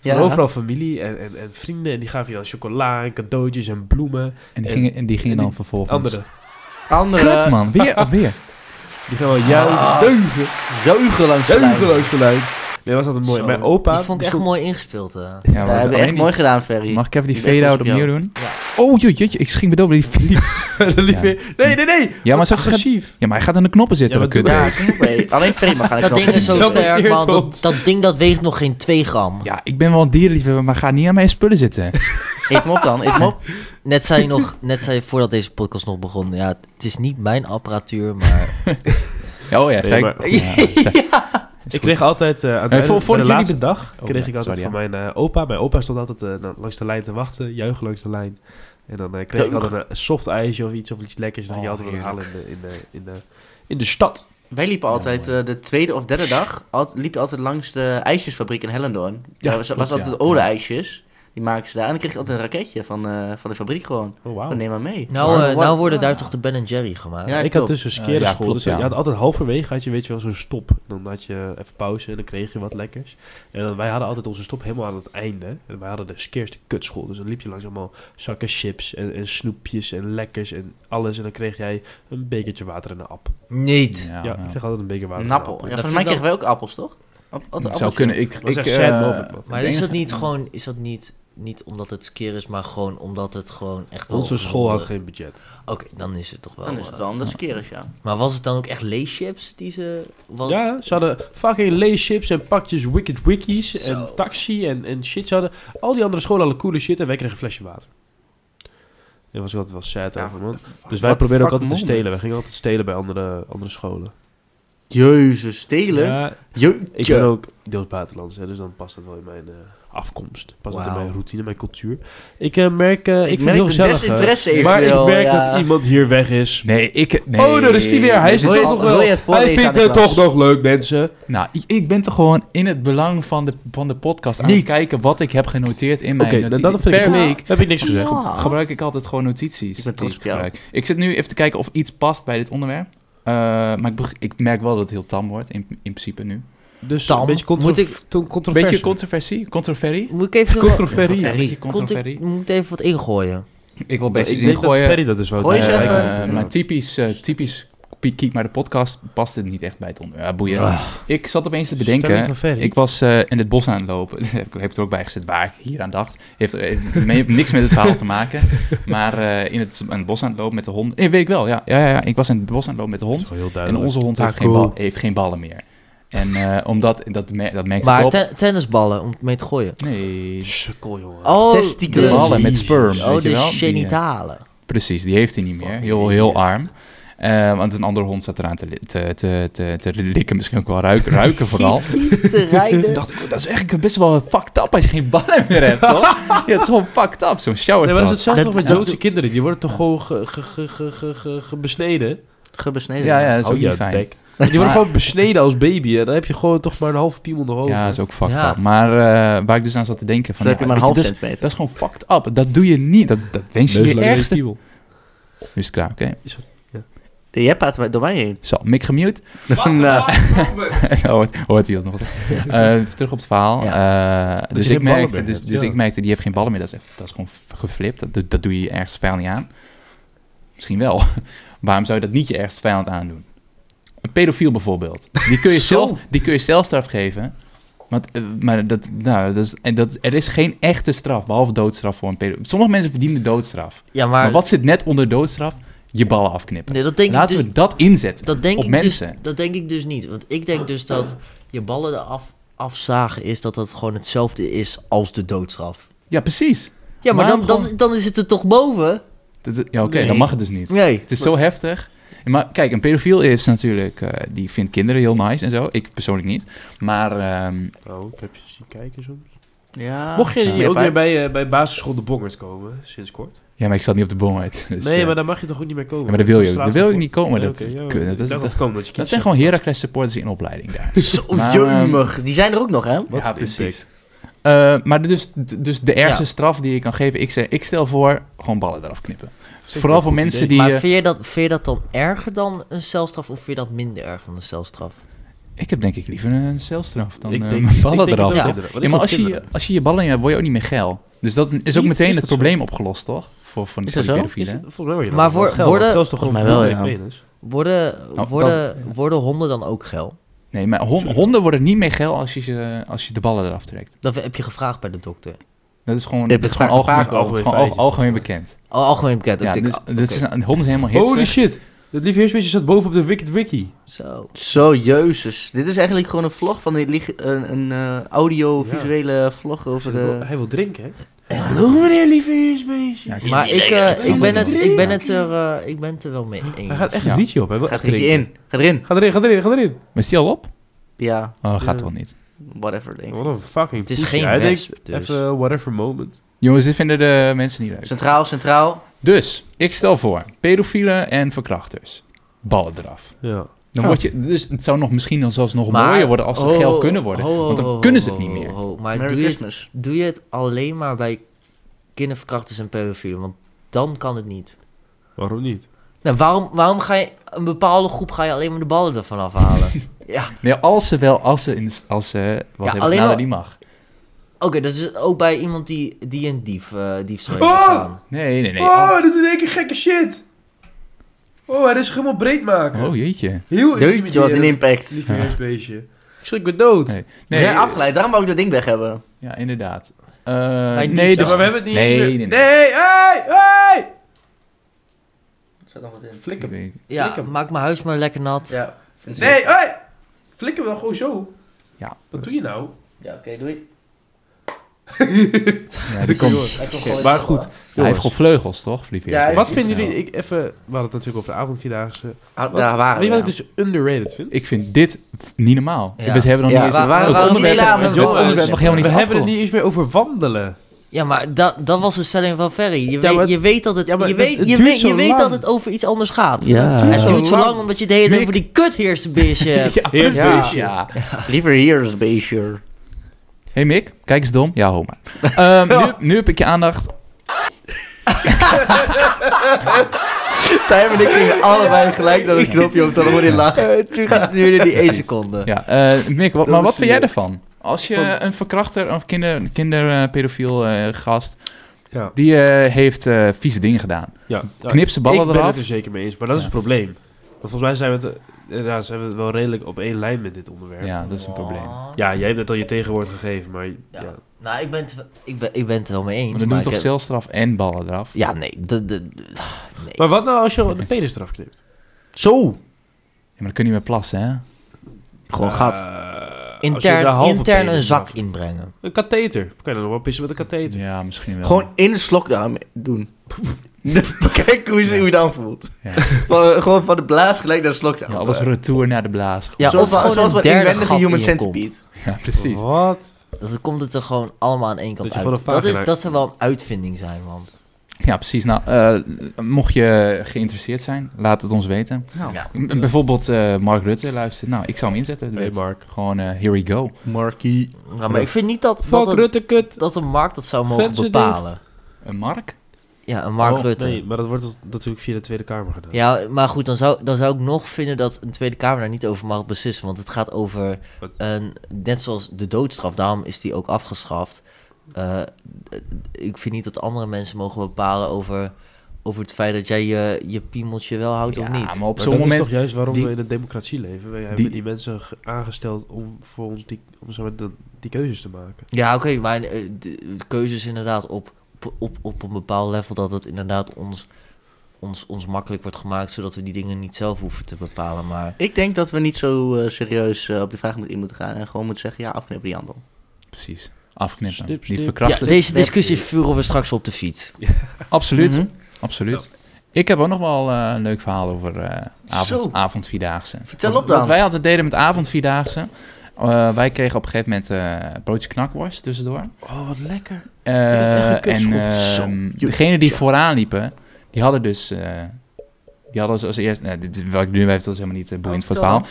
S1: Ja. Overal familie en, en, en vrienden. En die gaven je dan chocola en cadeautjes en bloemen.
S4: En die gingen, en die gingen
S1: en
S4: dan vervolgens...
S1: Anderen.
S5: Andere.
S4: Kut man, weer, weer.
S1: Die gaan wel juichen.
S4: Ah.
S1: Deugen.
S5: Deugen langs de lijn.
S1: Deugen langs de lijn. Nee, was altijd mooi.
S5: Zo.
S1: Mijn opa...
S3: Die vond ik echt
S1: stond-
S3: mooi ingespeeld. eh. hè.
S4: Ja,
S5: Ja,
S4: maar
S5: dat hebben we
S4: alleen
S5: echt
S4: die-
S5: mooi gedaan, Ferry.
S4: Mag ik even die
S5: Die ligt
S4: fade-out
S5: ons op
S4: opnieuw
S5: jou.
S4: doen? Oh, joh, jeetje, ik sching me door bij die fliep.
S1: Dan liep
S4: Ja.
S1: je- Nee, nee, nee.
S4: Ja, maar zo
S1: Agressief.
S4: Ja, maar hij gaat aan de knoppen zitten,
S1: Ja,
S4: ja,
S1: maar doe
S4: kut.
S5: Ja, super. Alleen Ferry mag aan de
S3: Dat
S5: knop.
S3: ding is zo
S1: Zo
S3: sterk, man.
S1: irritant.
S3: Dat, dat ding dat weegt nog geen 2 gram.
S4: Ja, ik ben wel een dierenliefhebber, maar ga niet aan mijn spullen zitten. Oh,
S5: Eet hem op dan, eet hem op.
S3: Net zei je nog, net zei je voordat deze podcast nog begon. Ja, het is niet mijn apparatuur, maar
S4: Ja, Oh ja,
S1: Nee,
S4: zei
S1: maar-
S4: ik. Ja, zei- Is
S1: Ik
S4: goed.
S1: kreeg altijd, eh, aan het
S4: Eh,
S1: einde-
S4: voor-
S1: bij
S4: voordat
S1: de
S4: jullie
S1: laatste dag,
S4: Oh,
S1: kreeg
S4: ja,
S1: ik altijd
S4: sorry,
S1: van mijn eh, opa. Mijn opa stond altijd eh, nou, langs de lijn te wachten, juichen langs de lijn. En dan eh, kreeg ik
S5: Deugd.
S1: altijd een soft ijsje of iets, of iets lekkers. Dan ging je
S4: Oh,
S1: altijd wat halen
S4: heerlijk.
S1: in de, in, de, in, de, in de stad.
S5: Wij liepen
S4: Ja,
S5: altijd
S4: mooi.
S5: eh, de tweede of derde dag, al, liep je altijd langs de ijsjesfabriek in Hellendoorn.
S4: Ja,
S5: Daar was, was
S4: klopt, ja.
S5: altijd olie-ijsjes. Die maken ze daar. En dan kreeg je altijd een raketje van, eh, van de fabriek gewoon.
S1: Oh,
S5: Van,
S1: wauw.
S5: neem maar mee.
S3: Nou, eh,
S5: Ja.
S3: nou worden daar toch de Ben Jerry gemaakt.
S5: Ja,
S1: ik had
S5: klopt.
S1: dus een
S4: Eh, ja,
S1: skere school.
S4: klopt,
S1: dus
S4: ja.
S1: je had altijd halverwege had je, weet je wel, zo'n stop. Dan had je even pauze en dan kreeg je wat lekkers. En dan, wij hadden altijd onze stop helemaal aan het einde. En wij hadden de skeerste kutschool. Dus dan liep je langs allemaal zakken chips en, en snoepjes en lekkers en alles. En dan kreeg jij een bekertje water en een app.
S3: Niet.
S1: Ja,
S4: Ja,
S1: ik kreeg altijd een beker water
S5: Een
S1: en
S5: appel. Ja,
S1: Ja.
S5: volgens
S3: vind
S5: mij
S3: ik
S5: kregen
S3: wel-
S5: wij ook appels, toch? App- altijd
S4: Het zou
S5: appels,
S4: kunnen. Ik,
S1: Dat is
S4: ik,
S1: echt sad
S4: eh,
S1: moment, man.
S3: Maar
S4: het
S3: is dat
S4: enige-
S3: niet gewoon, is dat niet, niet omdat het skeer is, maar gewoon omdat het gewoon echt wel
S1: Onze school had
S3: gezonde-
S1: geen budget.
S3: Oké, dan is het toch wel.
S5: Dan is het
S3: eh,
S5: wel omdat ze keren, ja.
S3: Maar was het dan ook echt leeschips die ze... Was...
S1: Ja, ze hadden fucking leeschips en pakjes Wicked Wikkies
S3: Zo.
S1: en taxi en, en shit. Ze hadden, al die andere scholen hadden coole shit en wij kregen een flesje water. Daar was ik altijd wel sad over, man. Dus wij
S4: What the
S1: probeerden ook
S4: fuck
S1: altijd te
S4: moment?
S1: stelen. We gingen altijd stelen bij andere, andere scholen.
S5: Jezus, stelen?
S1: Ja, ik ben ook deels buitenlands, hè, dus dan past dat wel in mijn eh, afkomst. Past dat in
S3: Wauw.
S1: mijn routine, mijn cultuur. Ik eh, merk, eh, ik,
S5: Ik
S1: vind het
S5: merk
S1: heel
S5: de
S1: gezellig.
S5: desinteresse
S1: hè.
S5: even
S1: maar
S5: wel,
S1: ik merk
S5: ja.
S1: dat iemand hier weg is.
S4: Nee, ik... Nee.
S1: Oh, daar is die weer. Hij is
S5: Wil
S1: het
S5: je
S1: toch
S5: het-
S1: wel. eh,
S5: wil je het
S1: Hij
S5: voorlezen
S1: vindt
S5: aan de
S1: het toch
S5: klas?
S1: nog leuk, mensen.
S4: Nou, ik, ik ben toch gewoon in het belang van de, van de podcast aan het
S1: Niet.
S4: kijken wat ik heb genoteerd in
S1: Oké,
S4: mijn
S1: dan,
S4: notities.
S1: dan vind ik
S4: per
S1: het-
S4: week
S1: heb ik niks gezegd.
S5: Ja.
S4: gebruik ik altijd gewoon notities.
S5: Ik ben trots
S4: die
S5: op jou.
S4: gebruik. Ik zit nu even te kijken of iets past bij dit onderwerp. Eh, maar ik, beg- ik merk wel dat het heel tam wordt, in, in principe nu.
S1: Dus
S3: Dan
S1: een beetje contro
S3: moet ik-
S1: to-
S4: Een
S1: controverse.
S4: beetje controversie? Controverie?
S3: Moet ik even...
S1: Controverie.
S4: Een beetje
S3: Moet
S4: controverie.
S3: ik, moet ik even wat ingooien?
S4: Ik wil
S1: Ik
S4: best iets
S1: denk dat
S4: ingooien.
S1: Ferry dat is wel.
S5: Gooi eens
S4: Eh,
S5: even-
S1: Ja, ik-
S4: eh,
S1: ja.
S4: maar typisch, eh, typisch Kiek maar de podcast past het niet echt bij het onderwerp. Ja, boeien.
S5: Ah.
S4: Ik zat opeens te
S1: Stemming
S4: bedenken.
S1: van Ferry.
S4: Ik was eh, in het bos aan het lopen. ik heb het er ook bij gezet waar ik hier aan dacht. Heeft eh, me- niks met het verhaal te maken. Maar eh, in, het, in het bos aan het lopen met de hond. Eh, weet ik wel, ja. Ja, ja, ja. Ik was in het bos aan het lopen met de
S1: Dat
S4: hond.
S1: is wel heel
S4: En
S1: duidelijk.
S4: onze hond heeft,
S1: Taco.
S4: geen, bal, heeft geen ballen meer. En eh, omdat, dat, me- dat merkte ik
S3: Maar
S4: op.
S3: ten- tennisballen, om mee te gooien.
S4: Nee,
S1: Sukkel, jongen.
S3: Oh,
S5: Testikelen.
S3: de-
S4: ballen met
S1: Jezus.
S4: sperm,
S3: Oh,
S4: weet je
S3: de
S4: wel. Die, eh,
S3: genitalen.
S4: Precies, die heeft hij niet meer.
S1: Fucking
S4: Heel, heel
S1: idiot.
S4: arm. Eh, want een andere hond zat eraan te, li- te, te, te, te likken, misschien ook wel ruiken, ruiken vooral.
S3: Te
S4: Toen
S3: rijden.
S4: dacht ik, oh, dat is eigenlijk best wel fucked up als je geen ballen meer hebt, toch? ja, het is gewoon fucked up, zo'n shower
S1: Nee, maar dat is hetzelfde
S3: Dat-
S1: toch met
S4: ja.
S1: Joodse kinderen. Die worden toch gewoon ge, ge, ge, ge, ge- ge- gebesneden.
S5: Gebesneden.
S4: Ja, ja, dat is ook
S1: Hou je
S4: niet fijn.
S1: bek. Die worden
S4: Maar-
S1: gewoon besneden als baby. En dan heb je gewoon toch maar een halve piemel nog over.
S4: Ja, dat is ook fucked
S3: Ja.
S4: up. Maar eh, waar ik dus aan zat te denken van...
S5: Dan heb je
S4: ja,
S5: maar een
S4: weet dat
S5: half
S4: is-
S5: centimeter.
S4: Dat is gewoon fucked up. Dat doe je niet. Dat, dat wens je je ergste... Nu is het klaar, oké.
S5: Jij praat er door mij heen.
S4: Zo, mic gemute.
S2: Wat
S5: Nou.
S4: hoort, hoort hij ons nog? Eh, terug op het verhaal. Eh,
S1: Dat
S4: dus
S1: je
S4: ik
S1: geen ballen
S4: merkte,
S1: meer
S4: dus,
S1: hebt,
S4: dus
S1: ja.
S4: ik merkte, die heeft geen ballen meer. Dat is, echt, dat is gewoon f- geflipt. Dat, doe- dat doe je je ergens vijand niet aan. Misschien wel. Waarom zou je dat niet je ergens vijand aandoen? Een pedofiel bijvoorbeeld. Die kun je,
S1: Zo.
S4: zelf, die kun je zelfstraf geven. Want, eh, maar dat, nou, dat is, en dat, er is geen echte straf, behalve doodstraf voor een pedofiel. Sommige mensen verdienen doodstraf.
S3: Ja,
S4: Maar,
S3: maar...
S4: wat zit net onder doodstraf? Je ballen afknippen.
S3: Nee, dat denk ik
S4: Laten
S3: dus
S4: we dat inzetten
S3: Dat denk,
S4: op
S3: ik
S4: mensen.
S3: Dus, dat denk ik dus niet. Want ik denk dus dat je ballen eraf afzagen is dat dat gewoon hetzelfde is als de doodstraf.
S4: Ja, precies.
S3: Ja, maar
S4: Waarom
S3: dan, dan,
S4: gewoon-
S3: dan is het er toch boven?
S4: Dat- Ja, oké,
S1: Nee.
S4: dan mag het dus niet.
S3: Nee.
S4: Het is zo heftig. Maar kijk, een pedofiel is natuurlijk... eh, die vindt kinderen heel nice en zo. Ik persoonlijk niet. Maar ehm,
S1: Oh, ik heb je zien kijken soms.
S5: Ja.
S1: Mocht je
S5: Smeerpijp.
S1: ook weer bij, eh, bij basisschool de Bongerd komen, sinds kort?
S4: ja, maar ik zat niet op de boom uit. Dus,
S1: Nee,
S4: eh,
S1: maar daar mag je toch ook niet meer komen?
S4: ja, maar daar wil je ook-
S1: Dat is
S4: daar wil je ook
S1: straatverbod.
S4: niet komen.
S1: Nee,
S4: Dat-
S1: oké, ja,
S4: kun- dat is-
S1: ik dacht
S4: dat-
S1: het kwam, dat je
S4: dat
S1: kiest
S4: zijn
S1: zelf.
S4: gewoon Heracles supporters in opleiding daar.
S5: Zo,
S4: Maar,
S5: jeumig. Die zijn er ook nog, hè?
S1: Wat
S4: ja,
S1: een
S4: precies.
S1: impact.
S4: Eh, maar dus, dus de ergste
S3: Ja.
S4: straf die je kan geven... Ik, zeg, ik stel voor, gewoon ballen eraf knippen.
S1: Zeker
S4: Vooral
S1: een
S4: voor
S1: goed
S4: mensen
S1: idee.
S4: die...
S3: maar
S4: eh,
S3: vind je, dat, vind je dat dan erger dan een celstraf of vind je dat minder erg dan een celstraf?
S4: ik heb denk ik liever een celstraf dan
S1: Ik
S4: eh,
S1: denk-
S4: mijn
S1: ik
S4: ballen
S1: denk het
S4: eraf.
S1: ook,
S4: Ja.
S1: inderdaad. Want ik
S4: Ja, maar
S1: wil
S4: als je,
S1: kinderen.
S4: als je je ballen in hebt, word je ook niet meer geil. Dus dat is ook
S1: Is-
S4: meteen
S1: is
S4: het
S1: dat zo?
S4: probleem opgelost, toch? Voor, voor,
S5: Is
S4: voor
S5: dat
S4: die
S5: zo?
S1: Is
S4: pedofielen.
S1: het- volgens mij word je
S3: Maar
S1: dan wel
S3: voor-
S1: geld, want
S3: worden-
S1: geld is toch
S5: volgens
S1: gewoon
S5: mij wel,
S1: een
S5: ja.
S1: penis?
S3: Worden,
S4: Nou,
S3: worden, worden honden dan ook geil?
S4: Nee, maar hon- honden worden niet meer geil als je, ze, als je de ballen eraf trekt.
S3: Dat heb je gevraagd bij de dokter.
S4: Dat is gewoon,
S5: Je
S4: dat
S5: hebt
S4: is
S5: het
S4: gewoon,
S5: vaak
S4: algemeen,
S5: vaak
S4: dat is gewoon al-
S1: algemeen
S4: algemeen bekend.
S3: Oh, algemeen bekend.
S4: Ja,
S3: Ik denk,
S4: dus,
S3: oh,
S4: dus
S3: oké.
S4: is een, honden zijn helemaal
S1: Holy
S4: hitsig.
S1: shit! Het lieve heersbeestje zat boven op de Wicked Wiki.
S3: Zo.
S5: Zo, jezus. Dit is eigenlijk gewoon een vlog van een, lig- een, een eh, audiovisuele vlog over de...
S1: Hij wil drinken, hè? Hallo meneer, lieve heersbeestje.
S4: Ja, ik-
S3: Maar ik, eh,
S5: lekker.
S3: ik, ben het, ik, ben
S1: Ja.
S3: het er, eh, ik ben het er wel mee
S1: Hij gaat
S3: eens.
S1: echt een
S4: Ja.
S1: liedje op, hè? Wil
S5: Gaat
S1: echt
S5: er eentje
S1: drinken.
S5: in. Ga erin.
S1: Ga erin, ga erin, ga erin.
S4: Maar is die al op?
S5: Ja,
S4: Oh, gaat
S1: Ja.
S4: wel niet.
S5: whatever, denk
S1: Wat
S5: ik.
S1: een fucking
S3: Het is
S1: poesie.
S3: geen
S1: Hij
S3: wesp,
S1: denkt
S3: dus.
S1: Even whatever moment.
S4: Jongens, dit vinden de mensen niet leuk.
S5: Centraal, centraal.
S4: Dus, ik stel voor, pedofielen en verkrachters. Ballen eraf.
S1: Ja.
S4: Dan
S1: Ja.
S4: word je, dus het zou nog misschien dan zelfs nog
S3: Maar- Oh,
S4: mooier worden als ze
S3: Ho,
S4: geel kunnen worden.
S3: ho, ho,
S4: want dan
S3: ho,
S4: kunnen ze het
S3: ho,
S4: niet meer.
S3: ho, ho. oh, Maar
S5: Merry
S3: doe je, het,
S5: Christmas.
S3: doe je het alleen maar bij kinderverkrachters en pedofielen? Want dan kan het niet.
S1: Waarom niet?
S3: Nou, waarom, waarom ga je een bepaalde groep ga je alleen maar de ballen ervan afhalen? ja,
S4: Nee, als ze wel, als ze, in de st- als ze wat
S3: Ja, alleen
S4: hebben gedaan
S3: al-
S4: dat niet mag.
S3: oké, dat is dus ook bij iemand die, die een dief, eh diefstal heeft
S1: Oh!
S3: gedaan.
S4: Nee, nee, nee.
S1: Oh,
S4: Oh,
S1: hij doet in één keer gekke shit. Oh, hij is zich helemaal breed maken.
S4: oh, jeetje.
S1: Heel
S5: Jeetje, wat een
S1: intimiderend.
S5: impact.
S1: Lief
S4: Ja.
S1: heersbeestje. Ik schrik me dood.
S4: Nee.
S5: Nee,
S4: Nee,
S5: afgeleid. Daarom wou ik dat ding weg hebben.
S4: ja, inderdaad. Eh,
S3: diefstal.
S4: nee,
S1: Ja,
S4: dus-
S1: maar we hebben het niet
S4: nee,
S1: eens meer-
S4: nee, nee.
S1: Nee, hey, hey!
S5: Zat nog wat in.
S1: Flikker.
S4: Ik
S1: hem.
S4: weet-
S3: Ja,
S1: Flikker.
S3: maak mijn huis maar lekker nat.
S5: Ja, vind ik.
S1: Nee, hey! Flikker hem dan gewoon zo.
S4: Ja.
S1: Wat doe je nou?
S5: Ja, oké, doei.
S4: Ja, die komt.
S5: Hij komt
S1: Shit,
S5: gewoon
S1: maar
S5: in.
S1: goed.
S4: Hij heeft gewoon vleugels, toch? Lieve
S5: Ja,
S4: heer?
S5: hij-
S1: Wat vinden jullie, ik even, we hadden het natuurlijk over de avondvierdaagse.
S5: Ah,
S1: Wat-
S5: daar waren
S1: Weet je
S5: we,
S1: wat ik dus underrated vind?
S4: Ik vind dit f- niet normaal.
S3: Ja.
S4: We hebben nog
S5: Ja,
S4: niet eens... Oh,
S5: waar- waar-
S4: het
S5: waarom
S4: onderwerp,
S5: niet laten?
S4: het
S1: Jongens,
S4: onderwerp mag helemaal
S1: We
S4: niet eens
S1: hebben het
S4: afgerond.
S1: niet eens meer over wandelen.
S3: Ja, maar dat, dat was de stelling van Ferry. Je,
S1: Ja, maar-
S3: weet, je weet dat het,
S1: Ja, maar
S3: je
S1: het-
S3: weet,
S1: het
S3: je
S1: duurt
S3: weet,
S1: zo
S3: je weet
S1: lang.
S3: dat het over iets anders gaat.
S5: Ja.
S3: Het duurt zo
S1: lang.
S3: lang omdat je de hele tijd
S1: Nick.
S3: over die kutheersenbeestje hebt.
S4: Ja,
S1: Heer
S4: precies.
S1: Beestje.
S4: Ja.
S5: Liever hier is beestje.
S4: Hey Mick, kijk eens dom. Ja, ho maar. Ehm, nu, nu heb ik je aandacht.
S5: Tijm en ik gingen allebei gelijk naar het knopje om te horen in lachen.
S3: Het duurde die één seconde.
S4: Ja, eh, Mick, wat,
S5: Dat
S4: maar
S5: is
S4: wat vind jij
S5: weer-
S4: ervan? Als je een verkrachter of kinder, kinderpedofiel eh, gast...
S1: Ja.
S4: die eh, heeft eh, vieze dingen gedaan.
S1: Ja.
S4: Knip ze ballen
S1: ik ben
S4: eraf.
S1: het er dus zeker mee eens, maar dat is
S4: Ja.
S1: het probleem. Want volgens mij zijn we, het, eh, ja, zijn we het wel redelijk op één lijn met dit onderwerp. Ja,
S4: Ja, dat is een probleem.
S1: jij hebt net al je tegenwoord gegeven, maar ja.
S3: Ja. Nou, ik ben, het, ik, ben, ik ben het wel mee eens.
S4: Want dan
S3: maar
S4: doen we
S3: ik
S4: toch
S3: heb-
S4: celstraf en ballen eraf?
S3: Ja, nee. De, de, de-
S1: Maar wat nou als je de penis eraf knipt?
S5: Zo!
S4: Ja, maar dan kun je niet meer plassen, hè?
S5: Gewoon
S1: Eh,
S5: gat.
S1: als je de
S3: intern,
S1: halve
S3: intern
S1: penis
S3: een zak
S1: eraf-
S3: inbrengen.
S1: Een katheter. Kan je dan nog wel pissen met een katheter?
S4: Ja, misschien wel.
S5: Gewoon in de slokdarm doen. Kijk hoe je, hoe je dan voelt.
S4: Ja.
S5: Van- gewoon van de blaas gelijk naar de slokdarm.
S4: Ja, alles retour naar de blaas.
S3: Ja,
S5: zoals
S3: of
S5: van-
S3: gewoon
S5: zoals
S3: een
S5: van
S3: derde
S5: inwendige
S3: gat
S5: Human
S3: in je kont.
S5: Centipede.
S4: Ja, precies.
S1: Wat?
S3: Dan komt het er gewoon allemaal aan één kant
S1: Dat je gewoon
S3: uit.
S1: een
S3: Dat, is,
S1: vagina-
S3: dat zou wel een uitvinding zijn, man.
S4: Ja, precies. Nou, eh, mocht je geïnteresseerd zijn, laat het ons weten.
S5: Nou.
S3: Ja.
S4: M- Bijvoorbeeld eh, Mark Rutte luistert. Nou, ik zou hem inzetten. de
S1: Nee,
S4: wet.
S1: Mark.
S4: Gewoon, eh, here we go.
S5: Marky.
S3: Ja, maar ik vind niet dat, dat,
S1: Fuck
S3: een,
S1: Rutte, kut.
S3: dat een markt dat zou mogen
S1: Grenzen
S3: bepalen.
S4: Een Mark?
S3: Ja, een Mark
S4: Oh,
S3: Rutte.
S1: Nee, maar dat wordt natuurlijk via de Tweede Kamer gedaan.
S3: Ja, maar goed, dan zou, dan zou ik nog vinden dat een Tweede Kamer daar niet over mag beslissen. Want het gaat over,
S1: Wat?
S3: een, net zoals de doodstraf, daarom is die ook afgeschaft. Eh, ik vind niet dat andere mensen mogen bepalen over, over het feit dat jij je, je piemeltje wel houdt
S4: ja,
S3: of niet.
S4: maar op
S1: Maar
S4: zo'n
S1: dat
S4: moment...
S1: is toch juist waarom
S4: die-
S1: we in een democratie leven. We hebben
S4: die-
S1: die, mensen ge- aangesteld om voor ons die, om zo met de- die keuzes te maken.
S3: Ja, oké, maar eh, de, de keuze is inderdaad op, op- op, op een bepaald level dat het inderdaad ons, ons, ons makkelijk wordt gemaakt, zodat we die dingen niet zelf hoeven te bepalen. Maar
S5: Ik denk dat we niet zo eh, serieus eh, op de vraag moeten in moeten gaan. En gewoon moeten zeggen, ja, afknippen die handel.
S4: Precies. Afknippen.
S1: Snip, snip.
S4: Die
S3: ja,
S4: verkrachten.
S3: deze discussie vuren we straks op de fiets.
S4: Absoluut.
S5: Mhm.
S4: Absoluut. Ik heb ook nog wel eh, een leuk verhaal over eh
S5: Zo.
S4: avond, avondvierdaagse.
S5: Vertel
S4: Wat-
S5: op dan.
S4: Wat wij altijd deden met avondvierdaagse. eh, wij kregen op een gegeven moment eh broodje knakworst tussendoor.
S1: Oh, wat lekker.
S4: Eh,
S1: Ja, echt een
S4: en
S1: kutschop.
S4: ehm,
S1: Zo,
S4: degene die vooraan liepen, die hadden dus... eh, die hadden dus als eerst... Nou, dit, is- wat ik nu weet, dat is helemaal niet eh,
S1: Oh,
S4: boeiend voor het verhaal.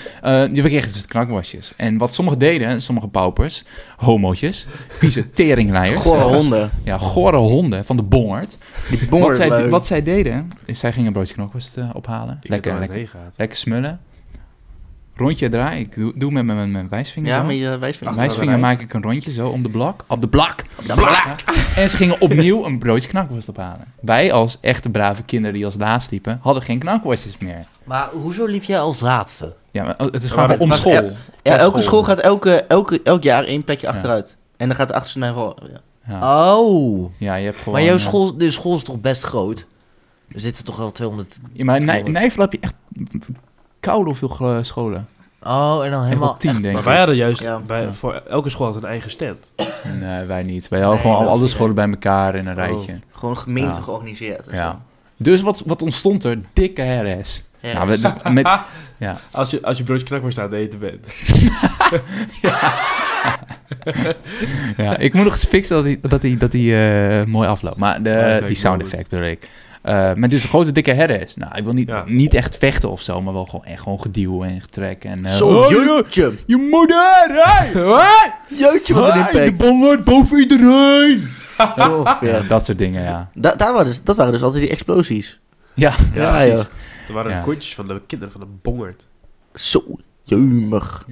S4: Eh, die kregen dus de knakworstjes. En wat sommigen deden, sommige paupers, homootjes, vieze teringlijers.
S5: Gore
S4: zelfs.
S5: honden.
S4: Ja, gore honden van de bongerd.
S5: Die
S4: Wat
S5: bongerd
S4: zij,
S5: leuk.
S4: wat zij deden, is zij gingen een broodje knokworst eh, ophalen.
S1: Ik
S4: lekker,
S1: lekker.
S4: lekker,
S1: Heen gaat.
S4: lekker smullen. Rondje draaien. Ik doe, doe met mijn- mijn mijn wijsvinger
S5: Ja,
S4: zo.
S5: maar je eh, wijsvinger.
S4: Met mijn wijsvinger
S1: rij.
S4: maak ik een rondje zo om de blok. Op de blok! Op de blok! En ze gingen opnieuw een broodje knakworst ophalen. Wij als echte brave kinderen die als laatst liepen, hadden geen knakworstjes meer.
S3: Maar hoezo liep jij als laatste?
S4: Ja, maar oh, het is
S1: Maar
S4: gewoon
S1: het
S4: om
S5: was
S4: school.
S5: echt- Ja,
S4: Op
S5: elke school
S4: school
S5: gaat elke, elke, elk jaar één plekje
S4: Ja.
S5: achteruit. En dan gaat de achterste naar voor. Ja.
S4: Ja.
S3: Oh,
S4: ja, je hebt gewoon...
S3: maar jouw
S4: eh,
S3: school, de school is toch best groot? Er zitten toch wel 200...
S4: eh, Ja, maar in Nij- in Nijvel heb je echt koude of veel eh, scholen.
S3: Oh, en dan helemaal...
S4: Helemaal tien,
S3: echt-
S4: denk
S1: Maar
S4: ik.
S1: wij hadden juist,
S5: Ja.
S1: wij-
S4: Ja.
S1: voor elke school had een eigen stand.
S4: Nee, wij niet. Oh, Wij hadden
S5: Nee,
S4: gewoon
S5: dat
S4: alle
S5: is-
S4: scholen bij elkaar in een rijtje.
S5: Gewoon gemeente
S4: Ja.
S5: georganiseerd. en
S4: Ja. Dus wat, wat ontstond er? Dikke herres.
S5: zo. Ja.
S4: Nou, met, met,
S1: Als je, als je broodje knakworst aan het eten bent.
S4: ja, ik moet nog eens fixen dat hij, dat hij, dat hij eh, mooi afloopt. Maar de,
S1: Ja, dat weet
S4: die
S1: ik
S4: sound
S1: nooit.
S4: effect bedoel ik. Eh, maar dus een grote dikke herder is. Nou, ik wil niet,
S1: Ja.
S4: niet echt vechten of zo, maar wel gewoon, echt gewoon geduwen en getrekken. En, eh,
S5: Zo,
S4: oh,
S5: jeutje.
S4: je moeder! Hey! Hey!
S5: Jeutje, wat een
S4: Hey, de
S5: impact.
S4: bal wordt boven iedereen!
S5: Zo ongeveer.
S4: Ja, dat soort dingen, ja.
S5: Da- daar waren dus, dat waren dus altijd die explosies.
S4: Ja,
S5: Ja,
S4: precies.
S5: joh.
S1: Er waren
S4: Ja.
S1: kontjes van de kinderen van de bongerd.
S5: Zo, jeumig.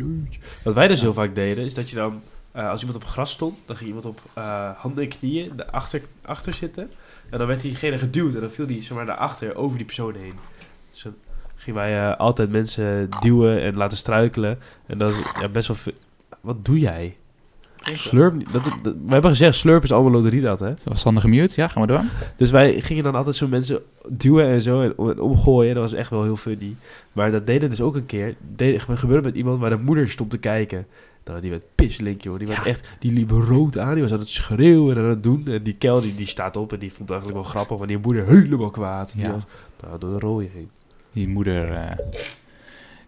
S1: Wat wij dus heel vaak deden, is dat je dan... eh, als iemand op gras stond, dan ging iemand op eh, handen en knieën de achter, achter zitten. En dan werd diegene geduwd. En dan viel die zeg maar, naar achter over die persoon heen. Dus dan gingen wij eh, altijd mensen duwen en laten struikelen. En dat is ja, best wel... ve- Wat doe jij? Slurp niet. Dat, dat- we hebben gezegd, slurp is allemaal loteriedad, hè?
S4: Zo, Sander gemute, ja, gaan we door.
S1: Dus wij gingen dan altijd zo mensen duwen en zo en, o- en omgooien. Dat was echt wel heel funny. Maar dat deden dus ook een keer. Deed, gebeurde met iemand waar de moeder stond te kijken. Nou, die werd pislink, joh. Die, werd echt, die liep rood aan. Die was aan het schreeuwen en aan het doen. En die kel, die, die staat op en die vond het eigenlijk wel grappig. Maar die moeder helemaal kwaad. Die
S4: Ja.
S1: was nou, door de rode heen.
S4: Die moeder, eh,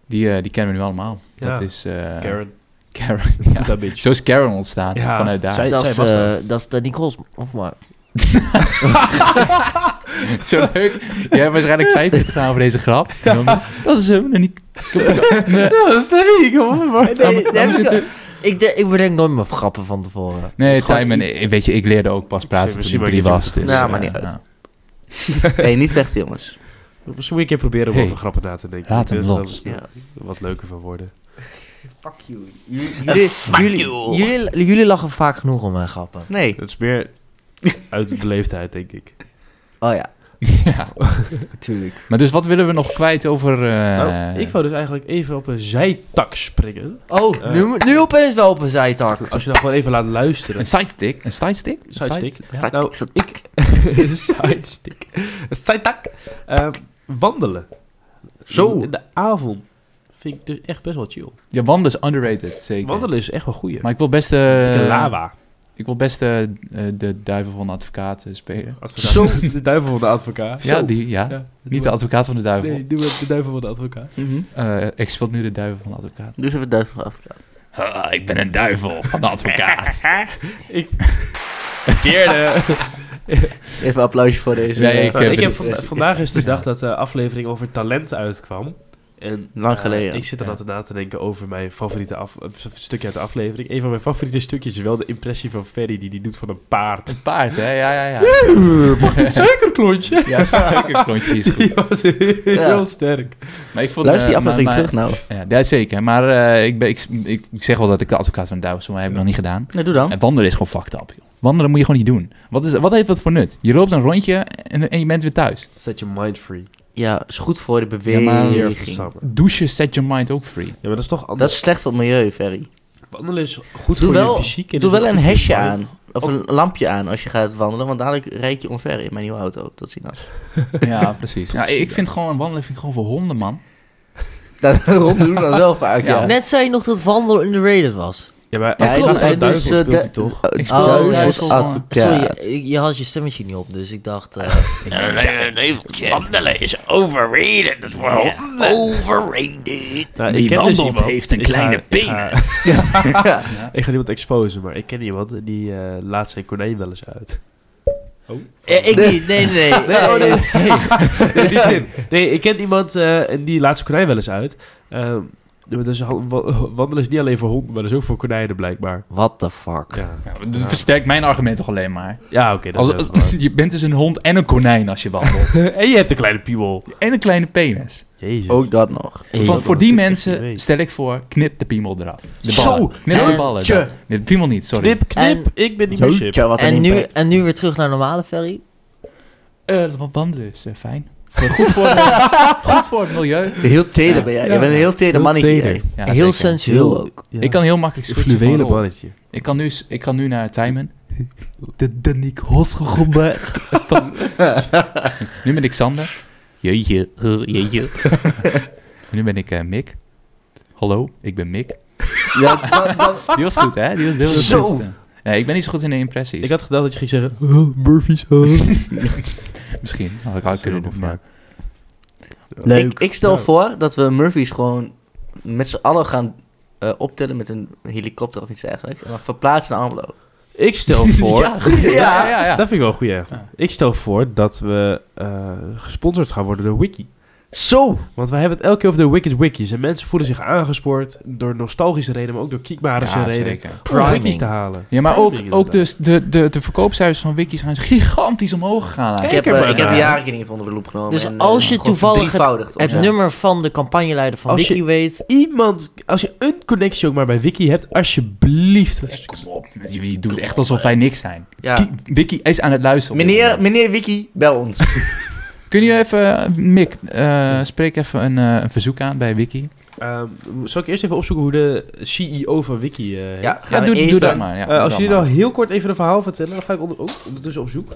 S4: die, eh, die kennen we nu allemaal.
S1: Ja.
S4: Dat is eh,
S1: Karen,
S4: Karen, ja.
S1: dat bitch.
S4: Zo is Karen ontstaan,
S1: Ja,
S4: vanuit daar.
S1: zij-
S3: Dat is,
S1: was
S3: eh, dat is de Nicole's, of maar.
S4: Zo leuk. Jij hebt waarschijnlijk 45 gedaan voor deze grap. En dan- Dat is hem. en niet... Nee,
S1: dat is niet. Kom maar.
S3: Nee,
S4: dan moet je natuurlijk-
S3: ik, de- ik bedenk nooit mijn grappen van tevoren.
S4: nee
S3: Het is gewoon
S4: Tijmen,
S3: iets-
S4: ik- weet je, ik leerde ook pas praten toen
S1: Misschien
S4: ik
S1: maar
S4: drie
S1: niet
S4: was.
S1: zo-
S4: Dus,
S5: Nou,
S4: eh,
S5: maar niet uit.
S4: nou,
S5: Nee, niet vechten, jongens.
S1: Misschien moet je een keer proberen om
S4: Hey,
S1: over grappen na te denken.
S4: laat hem
S1: Dus dat
S4: los.
S1: is
S5: Ja.
S1: Wat leuker van worden.
S5: Fuck you. Jullie...
S3: Jullie, jullie, jullie, jullie lachen vaak genoeg om mijn grappen.
S5: Nee.
S1: Het is meer uit de leeftijd, denk ik.
S3: Oh ja,
S4: ja.
S3: natuurlijk.
S4: Maar dus wat willen we nog kwijt over... eh,
S1: Nou, ik wou dus eigenlijk even op een zijtak springen.
S3: Oh,
S1: Eh.
S3: nu, nu opeens wel op een zijtak.
S1: Als je nou gewoon even laat luisteren.
S4: Een sidestick? Een sidestick?
S1: Sidestick.
S5: Ja.
S1: Nou, ik... Sidestick. Een Zijtak. Ehm, wandelen.
S5: Zo.
S1: In de avond vind ik dus echt best wel chill.
S4: Ja, wandelen is underrated, zeker.
S1: Wandelen is echt wel goeie.
S4: Maar ik wil best... eh,
S1: de lava.
S4: Ik wil best eh, eh, de duivel van de advocaat eh, spelen.
S1: Advocaat. De duivel van de advocaat.
S4: Ja, die, ja. Niet de advocaat van de duivel.
S1: Nee, doe het de duivel van de advocaat.
S4: Eh, ik speel nu de duivel van de advocaat.
S5: Dus Mhm. even duif van afgehaald.
S4: ik ben een duivel van de advocaat.
S1: Ik... Verkeerde.
S5: Even een applausje voor deze.
S4: Nee,
S5: eh,
S4: ik
S1: Want Nou,
S4: heb-
S1: ik heb vanda- vandaag is de dag dat de aflevering over talent uitkwam. En,
S5: Lang
S1: eh,
S5: geleden.
S1: ik zit er
S4: Ja.
S1: altijd na te denken over mijn favoriete af, eh, stukje uit de aflevering. Een van mijn favoriete stukjes is wel de impressie van Ferry die die doet van een paard.
S4: Een paard, hè? Ja, ja, ja.
S1: Een suikerklontje.
S4: Ja, suikerklontje is goed.
S1: Die was heel,
S5: Ja.
S1: sterk.
S4: Maar ik vond,
S5: Luister die
S4: eh,
S5: aflevering
S4: maar- maar-
S5: terug nou.
S4: Ja, dat zeker. Maar eh, ik, ben, ik, ik, ik zeg wel dat ik de advocaat van de duivel ben, maar heb ik nog niet gedaan.
S5: Nee, doe
S1: Oh.
S5: dan.
S4: En wandelen is gewoon fucked up, joh. Wandelen moet je gewoon niet doen. Wat, is, wat heeft dat voor nut? Je loopt een rondje en, en je bent weer thuis.
S1: Set your mind free.
S5: Ja, is goed voor de
S4: maar-
S1: Year
S5: beweging.
S1: of the summer.
S4: Douchen set your mind ook free.
S1: Ja, maar dat is toch
S5: dat
S1: anders.
S5: is slecht voor het milieu, Ferry.
S1: Wandelen is goed
S5: Doe
S1: voor
S5: wel-
S1: je fysiek. en
S5: Doe
S1: is
S5: wel
S1: ook
S5: een
S1: goed voor je
S5: hesje
S1: mind.
S5: aan. Of een lampje aan als je gaat wandelen. Want dadelijk reik je onver in mijn nieuwe auto. Tot ziens.
S4: Ja, precies. Ja, ik vind gewoon wandelen vind ik gewoon voor honden, man.
S5: Dat rond doen we dan wel vaak, ja.
S4: Ja.
S3: Net zei je nog dat wandelen underrated was.
S1: Ja, maar
S5: Ja,
S1: als
S5: klopt,
S1: ja, van
S5: hè,
S1: de duivel
S5: dus, eh,
S1: speelt hij
S5: de-
S1: toch?
S4: Ik speel
S5: Duivel
S3: Oh,
S4: duivel,
S5: advocaat.
S4: man.
S3: Sorry, je, je had je stemmetje niet op, dus ik dacht... eh,
S6: Wandelen is overrated. Dat wordt overrated.
S1: Nou,
S6: Die
S1: ik ken dus
S6: wandelt
S1: iemand.
S6: heeft een
S1: Ik ga-
S6: kleine
S1: ik ga-
S5: Ja.
S1: Ik ga niemand exposen, maar ik ken iemand die eh, laat zijn konijn wel eens uit.
S3: eh, ik niet, nee, nee, nee.
S1: oh, nee. nee, niet Tim. Nee, ik ken iemand eh, en die laat zijn konijn wel eens uit. Ehm, dus ha- wa- wandelen is niet alleen voor honden, maar dat is ook voor konijnen blijkbaar.
S3: What the fuck?
S1: Ja,
S4: Ja, dat versterkt mijn argument toch alleen maar.
S1: ja oké. dat
S4: Als,
S1: is wel
S4: als- je bent dus een hond en een konijn als je wandelt.
S1: waar. en je hebt een kleine piemel.
S4: en een kleine penis.
S1: Jezus.
S5: Ook dat nog.
S3: Hey,
S4: Voor,
S1: dat
S4: voor
S1: was
S4: die
S1: ik echt niet
S4: mensen
S1: weet.
S4: stel ik voor, knip de piemel eraf. De
S1: Zo,
S4: ballen. knip de
S3: hè?
S4: ballen.
S3: Tje.
S4: Dan. Nee, de piemel niet, sorry.
S1: Knip, knip, ik ben niet meer ship.
S5: Jeetje, wat een
S3: en, nu,
S5: impact.
S3: en nu weer terug naar normale ferry.
S4: Eh, want wandelen is eh, fijn. Goed voor, de- goed voor het milieu.
S5: Heel teder ben jij.
S1: Ja.
S5: Je bent een heel teder
S1: Heel
S5: mannetje.
S1: teder.
S5: hè.
S4: Ja,
S3: Heel
S4: zeker.
S3: sensueel ook.
S1: Ja.
S4: Ik kan heel makkelijk
S1: een
S4: switchen van
S1: fluwelen
S4: rol.
S1: mannetje.
S4: Ik kan nu, s- ik kan nu naar Tijmen. De, de Nick Hosgegomme. nu ben ik Sander. Jeetje, eh, jeetje. nu ben ik eh, Mick. Hallo, ik ben Mick.
S5: Ja, dat- dat-
S4: Die was goed, hè? Die was, die was het
S5: Zo.
S4: beste. Nee, ik ben niet zo goed in de impressies.
S1: Ik had gedacht dat je ging zeggen...
S4: Misschien. Had ik had
S1: Sorry,
S4: kunnen
S1: dat
S4: doen,
S1: maakt
S4: maar...
S5: Ik, ik stel
S1: Ja.
S5: voor dat we Murphy's gewoon met z'n allen gaan eh, optellen met een helikopter of iets dergelijks. En dan verplaatsen naar Amelo.
S1: Ik stel voor...
S4: Ja, ja, ja.
S1: Dat vind ik wel een goeie. Ik stel voor dat we eh, gesponsord gaan worden door Wiki.
S3: Zo!
S1: Want wij hebben het elke keer over de Wicked Wikis. En mensen voelen zich aangespoord door nostalgische redenen, maar ook door kiekbarische
S4: Ja,
S1: redenen.
S4: zeker.
S1: Om
S3: Priming.
S1: wikis te halen.
S4: Ja, maar ook,
S1: Priming,
S4: ook dus de, de, de verkoopcijfers van Wiki zijn gigantisch omhoog gegaan.
S5: Ik
S1: Kijk
S5: heb,
S1: er
S5: eh,
S1: maar
S5: ik heb
S1: naar.
S5: de jaarrekening even onder de loep genomen.
S3: Dus
S5: en, eh,
S3: als je
S5: gewoon
S3: toevallig
S5: verdrievoudigd of
S3: Het
S5: zo.
S3: nummer van de campagneleider van
S1: Als je-
S3: Wiki weet.
S1: Iemand, als je een connectie ook maar bij Wiki hebt, alsjeblieft.
S4: Kom op, je, je doet echt alsof wij niks zijn.
S5: Ja.
S4: Ki- Wiki is aan het luisteren. op dit
S5: Meneer,
S4: moment.
S5: meneer Wiki, bel ons.
S4: Kun je even, eh, Mick, eh, spreek even een, eh, een verzoek aan bij Wiki?
S1: Ehm, zal ik eerst even opzoeken hoe de CEO van Wiki eh, heet?
S5: Ja,
S4: Ja,
S5: gaan we
S4: doe, doe
S5: even-
S4: dat maar.
S1: Eh,
S4: Ja,
S1: als
S4: doe
S1: jullie
S4: dat
S1: dan heel kort even een verhaal vertellen, dan ga ik onder, oh, ondertussen op zoek.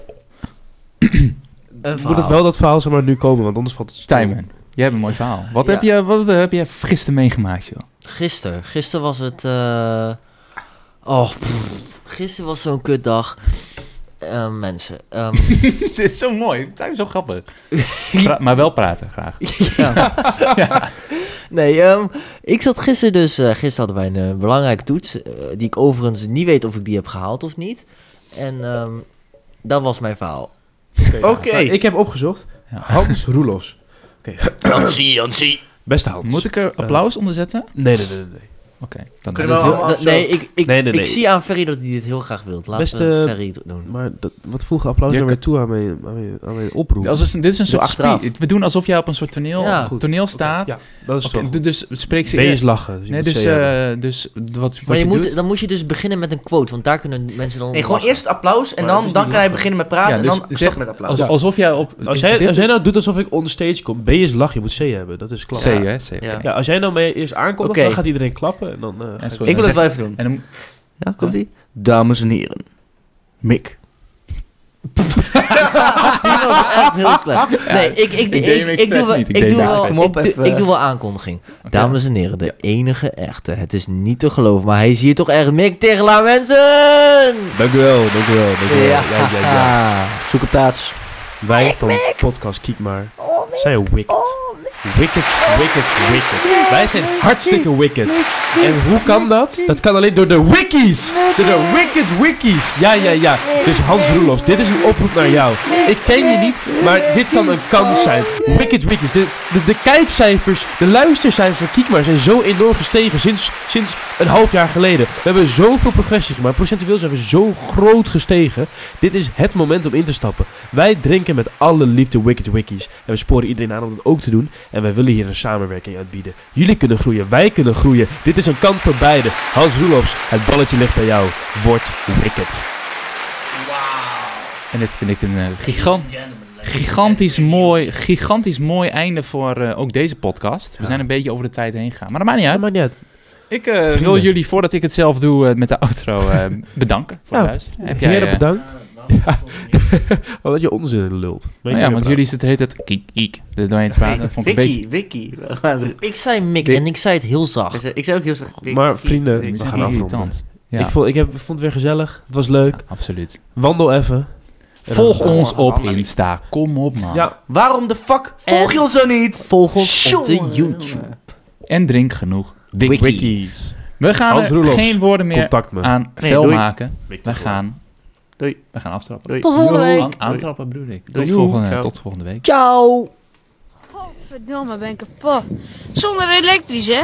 S3: Een
S1: Moet het
S3: verhaal.
S1: wel dat verhaal zeg maar nu komen, want anders valt het stil.
S4: maar. Tijmen, jij hebt een mooi verhaal. Wat,
S3: Ja.
S4: heb, je, wat eh, heb je gisteren meegemaakt, joh?
S3: Gisteren. Gisteren was het. eh, Oh, pff. gisteren was zo'n kutdag. Eh, mensen. ehm,
S4: Dit is zo mooi. Tijmen is zo grappig. Pra- maar wel praten, graag.
S3: nee, ehm, ik zat gisteren dus. eh, gisteren hadden wij een eh, belangrijke toets. eh, die ik overigens niet weet of ik die heb gehaald of niet. En ehm, dat was mijn verhaal.
S5: Oké.
S1: Nou, ik heb opgezocht.
S4: Ja.
S1: Hans Roelofs.
S6: Jansie, Jansie.
S1: Beste Hans.
S4: Moet ik er applaus onder zetten?
S1: Nee, nee, nee, nee, nee.
S4: Oké. dan-
S5: Kunnen we wel- Oh,
S3: Dat- nee, ik, ik,
S1: Nee, nee, nee.
S3: ik zie aan Ferry dat hij dit heel graag wil. Laat
S1: Beste-
S3: eh, Ferry het doen.
S1: Maar dat, wat voegen applaus
S4: Je
S1: nou weer
S4: kan-
S1: toe aan mijn, aan mijn, aan mijn oproep?
S4: Als is een- dit is een
S3: Dit
S4: soort
S3: is straf.
S4: spie- We doen alsof jij op een soort toneel,
S3: Ja,
S1: goed.
S4: toneel staat.
S1: Ja, dat is
S4: Oké,
S1: toch
S4: d- dus spreek ze
S1: B
S4: eerst.
S1: is lachen. Dus je
S4: Nee,
S1: moet
S4: dus,
S1: C hebben.
S4: eh, dus d- wat, wat
S3: Maar je moet,
S4: doet-
S3: dan moet je dus beginnen met een quote, want daar kunnen mensen dan. om
S5: Nee, gewoon
S3: lachen.
S5: eerst applaus en
S1: Maar het
S5: dan,
S1: is
S5: dan
S1: niet
S5: kan hij
S1: lachen.
S5: beginnen met praten
S4: Ja, dus
S5: en dan
S4: zeg-
S5: stop met applaus.
S4: als, alsof jij op...
S1: als,
S4: is
S1: jij,
S4: dit
S1: als jij
S4: het-
S1: nou doet alsof ik onstage kom, B is lachen, je moet C hebben. Dat is klap.
S4: C, hè? C, oké.
S5: Ja.
S1: Ja, als jij nou mee eerst aankomt,
S5: Oké.
S1: dan gaat iedereen klappen. En dan, eh, ga
S4: En
S1: ik-
S4: sorry, dan
S5: ik wil het
S4: zeg-
S5: wel even doen.
S4: En dan,
S5: Ja, komt ie. Dames en heren, Mick.
S3: Die was echt heel slecht. Nee, ik, ik, ik,
S4: deed hem
S3: ik, doe
S4: expres
S3: wel,
S4: niet, ik
S3: ik,
S4: deed
S3: doe
S4: hem
S3: wel,
S5: expres.
S3: ik, doe-
S5: Kom op,
S3: ik
S5: even.
S3: doe wel aankondiging.
S4: Oké.
S3: Dames en heren, de enige echte. Het is niet te geloven, maar hij is hier toch echt Mick Tegelaar, mensen!
S1: Dank u wel, dank u wel, dank u wel. Ja, ja, ja.
S5: Zoek een plaats.
S1: Wij van podcast Kiek maar zijn wicked. Wicked, wicked, wicked. Wij zijn hartstikke wicked. En hoe kan dat? Dat kan alleen door de wikis. Door de wicked wikis. Ja, ja, ja. Dus Hans Roelofs, dit is een oproep naar jou. Ik ken je niet, maar dit kan een kans zijn. Wicked wikis. De, de, de kijkcijfers, de luistercijfers van Kiek maar zijn zo enorm gestegen sinds, sinds een half jaar geleden. We hebben zoveel progressie gemaakt. Procentueel zijn we zo groot gestegen. Dit is het moment om in te stappen. Wij drinken met alle liefde Wicked Wikis. En we sporen iedereen aan om dat ook te doen. En wij willen hier een samenwerking uitbieden. Jullie kunnen groeien, wij kunnen groeien. Dit is een kans voor beiden. Hans Roelofs, het balletje ligt bij jou. Word Wicked.
S4: en dit vind ik een eh, gigant, gigantisch, mooi, gigantisch mooi einde voor eh, ook deze podcast. We
S1: Ja.
S4: zijn een beetje over de tijd heen gegaan, maar dat maakt niet
S1: Ja,
S4: uit.
S1: maar niet uit.
S4: Ik eh, wil
S1: Vrienden.
S4: jullie, voordat ik het zelf doe eh, met de outro, eh, bedanken voor
S1: Ja.
S4: het luisteren. Heb jij,
S1: Heren,
S4: eh,
S1: bedankt. Oh, dat je onzin lult. Weet je
S4: nou
S1: waar
S4: ja, want
S1: praat.
S4: jullie zitten het heet het kiek, kiek, er doorheen te praten. Dat vond ik een beetje...
S5: Wiki, Wiki. We gaan er-
S3: Ik zei Mick
S5: Dit-
S3: en ik zei het heel zacht.
S5: Ik zei ook heel zacht. Wiki,
S1: Maar vrienden,
S5: Wiki.
S1: we
S4: Een
S1: gaan
S4: beetje
S1: afronden.
S4: irritant. Ja,
S1: Ik, vond, ik heb, vond het weer gezellig. Het was leuk.
S4: ja, absoluut.
S1: Wandel even. En
S4: Volg
S1: dan-
S4: ons op Insta. Kom op, man.
S1: Ja,
S5: Waarom de fuck volg je ons zo niet?
S3: Volg ons op de
S5: Jongen,
S3: YouTube.
S5: jongen.
S4: En drink genoeg. Wiki.
S1: Wikis.
S4: We gaan
S1: Hans
S4: er
S1: Roelofs,
S4: geen woorden meer
S1: Contact me.
S4: aan
S5: Nee,
S4: vuil
S5: doei.
S4: maken.
S1: Mick
S4: We
S1: de Voort.
S4: gaan...
S5: Doei.
S4: We gaan aftrappen.
S5: Doei.
S3: Tot volgende
S5: Yo.
S3: week.
S4: Aan- aantrappen bedoel ik. Tot
S5: Doei.
S4: volgende,
S5: Ciao.
S4: tot volgende week.
S3: Ciao!
S7: Godverdomme, ben ik kapot. Zonder elektrisch, hè?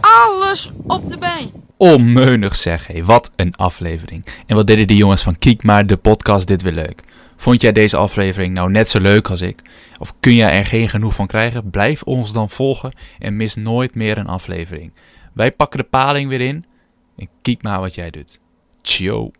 S7: Alles op de been.
S4: Onmeunig zeg, hé. Wat een aflevering. En wat deden die jongens van Kiek maar de podcast dit weer leuk. Vond jij deze aflevering nou net zo leuk als ik? Of kun jij er geen genoeg van krijgen? Blijf ons dan volgen en mis nooit meer een aflevering. Wij pakken de paling weer in en kiek maar wat jij doet. Ciao.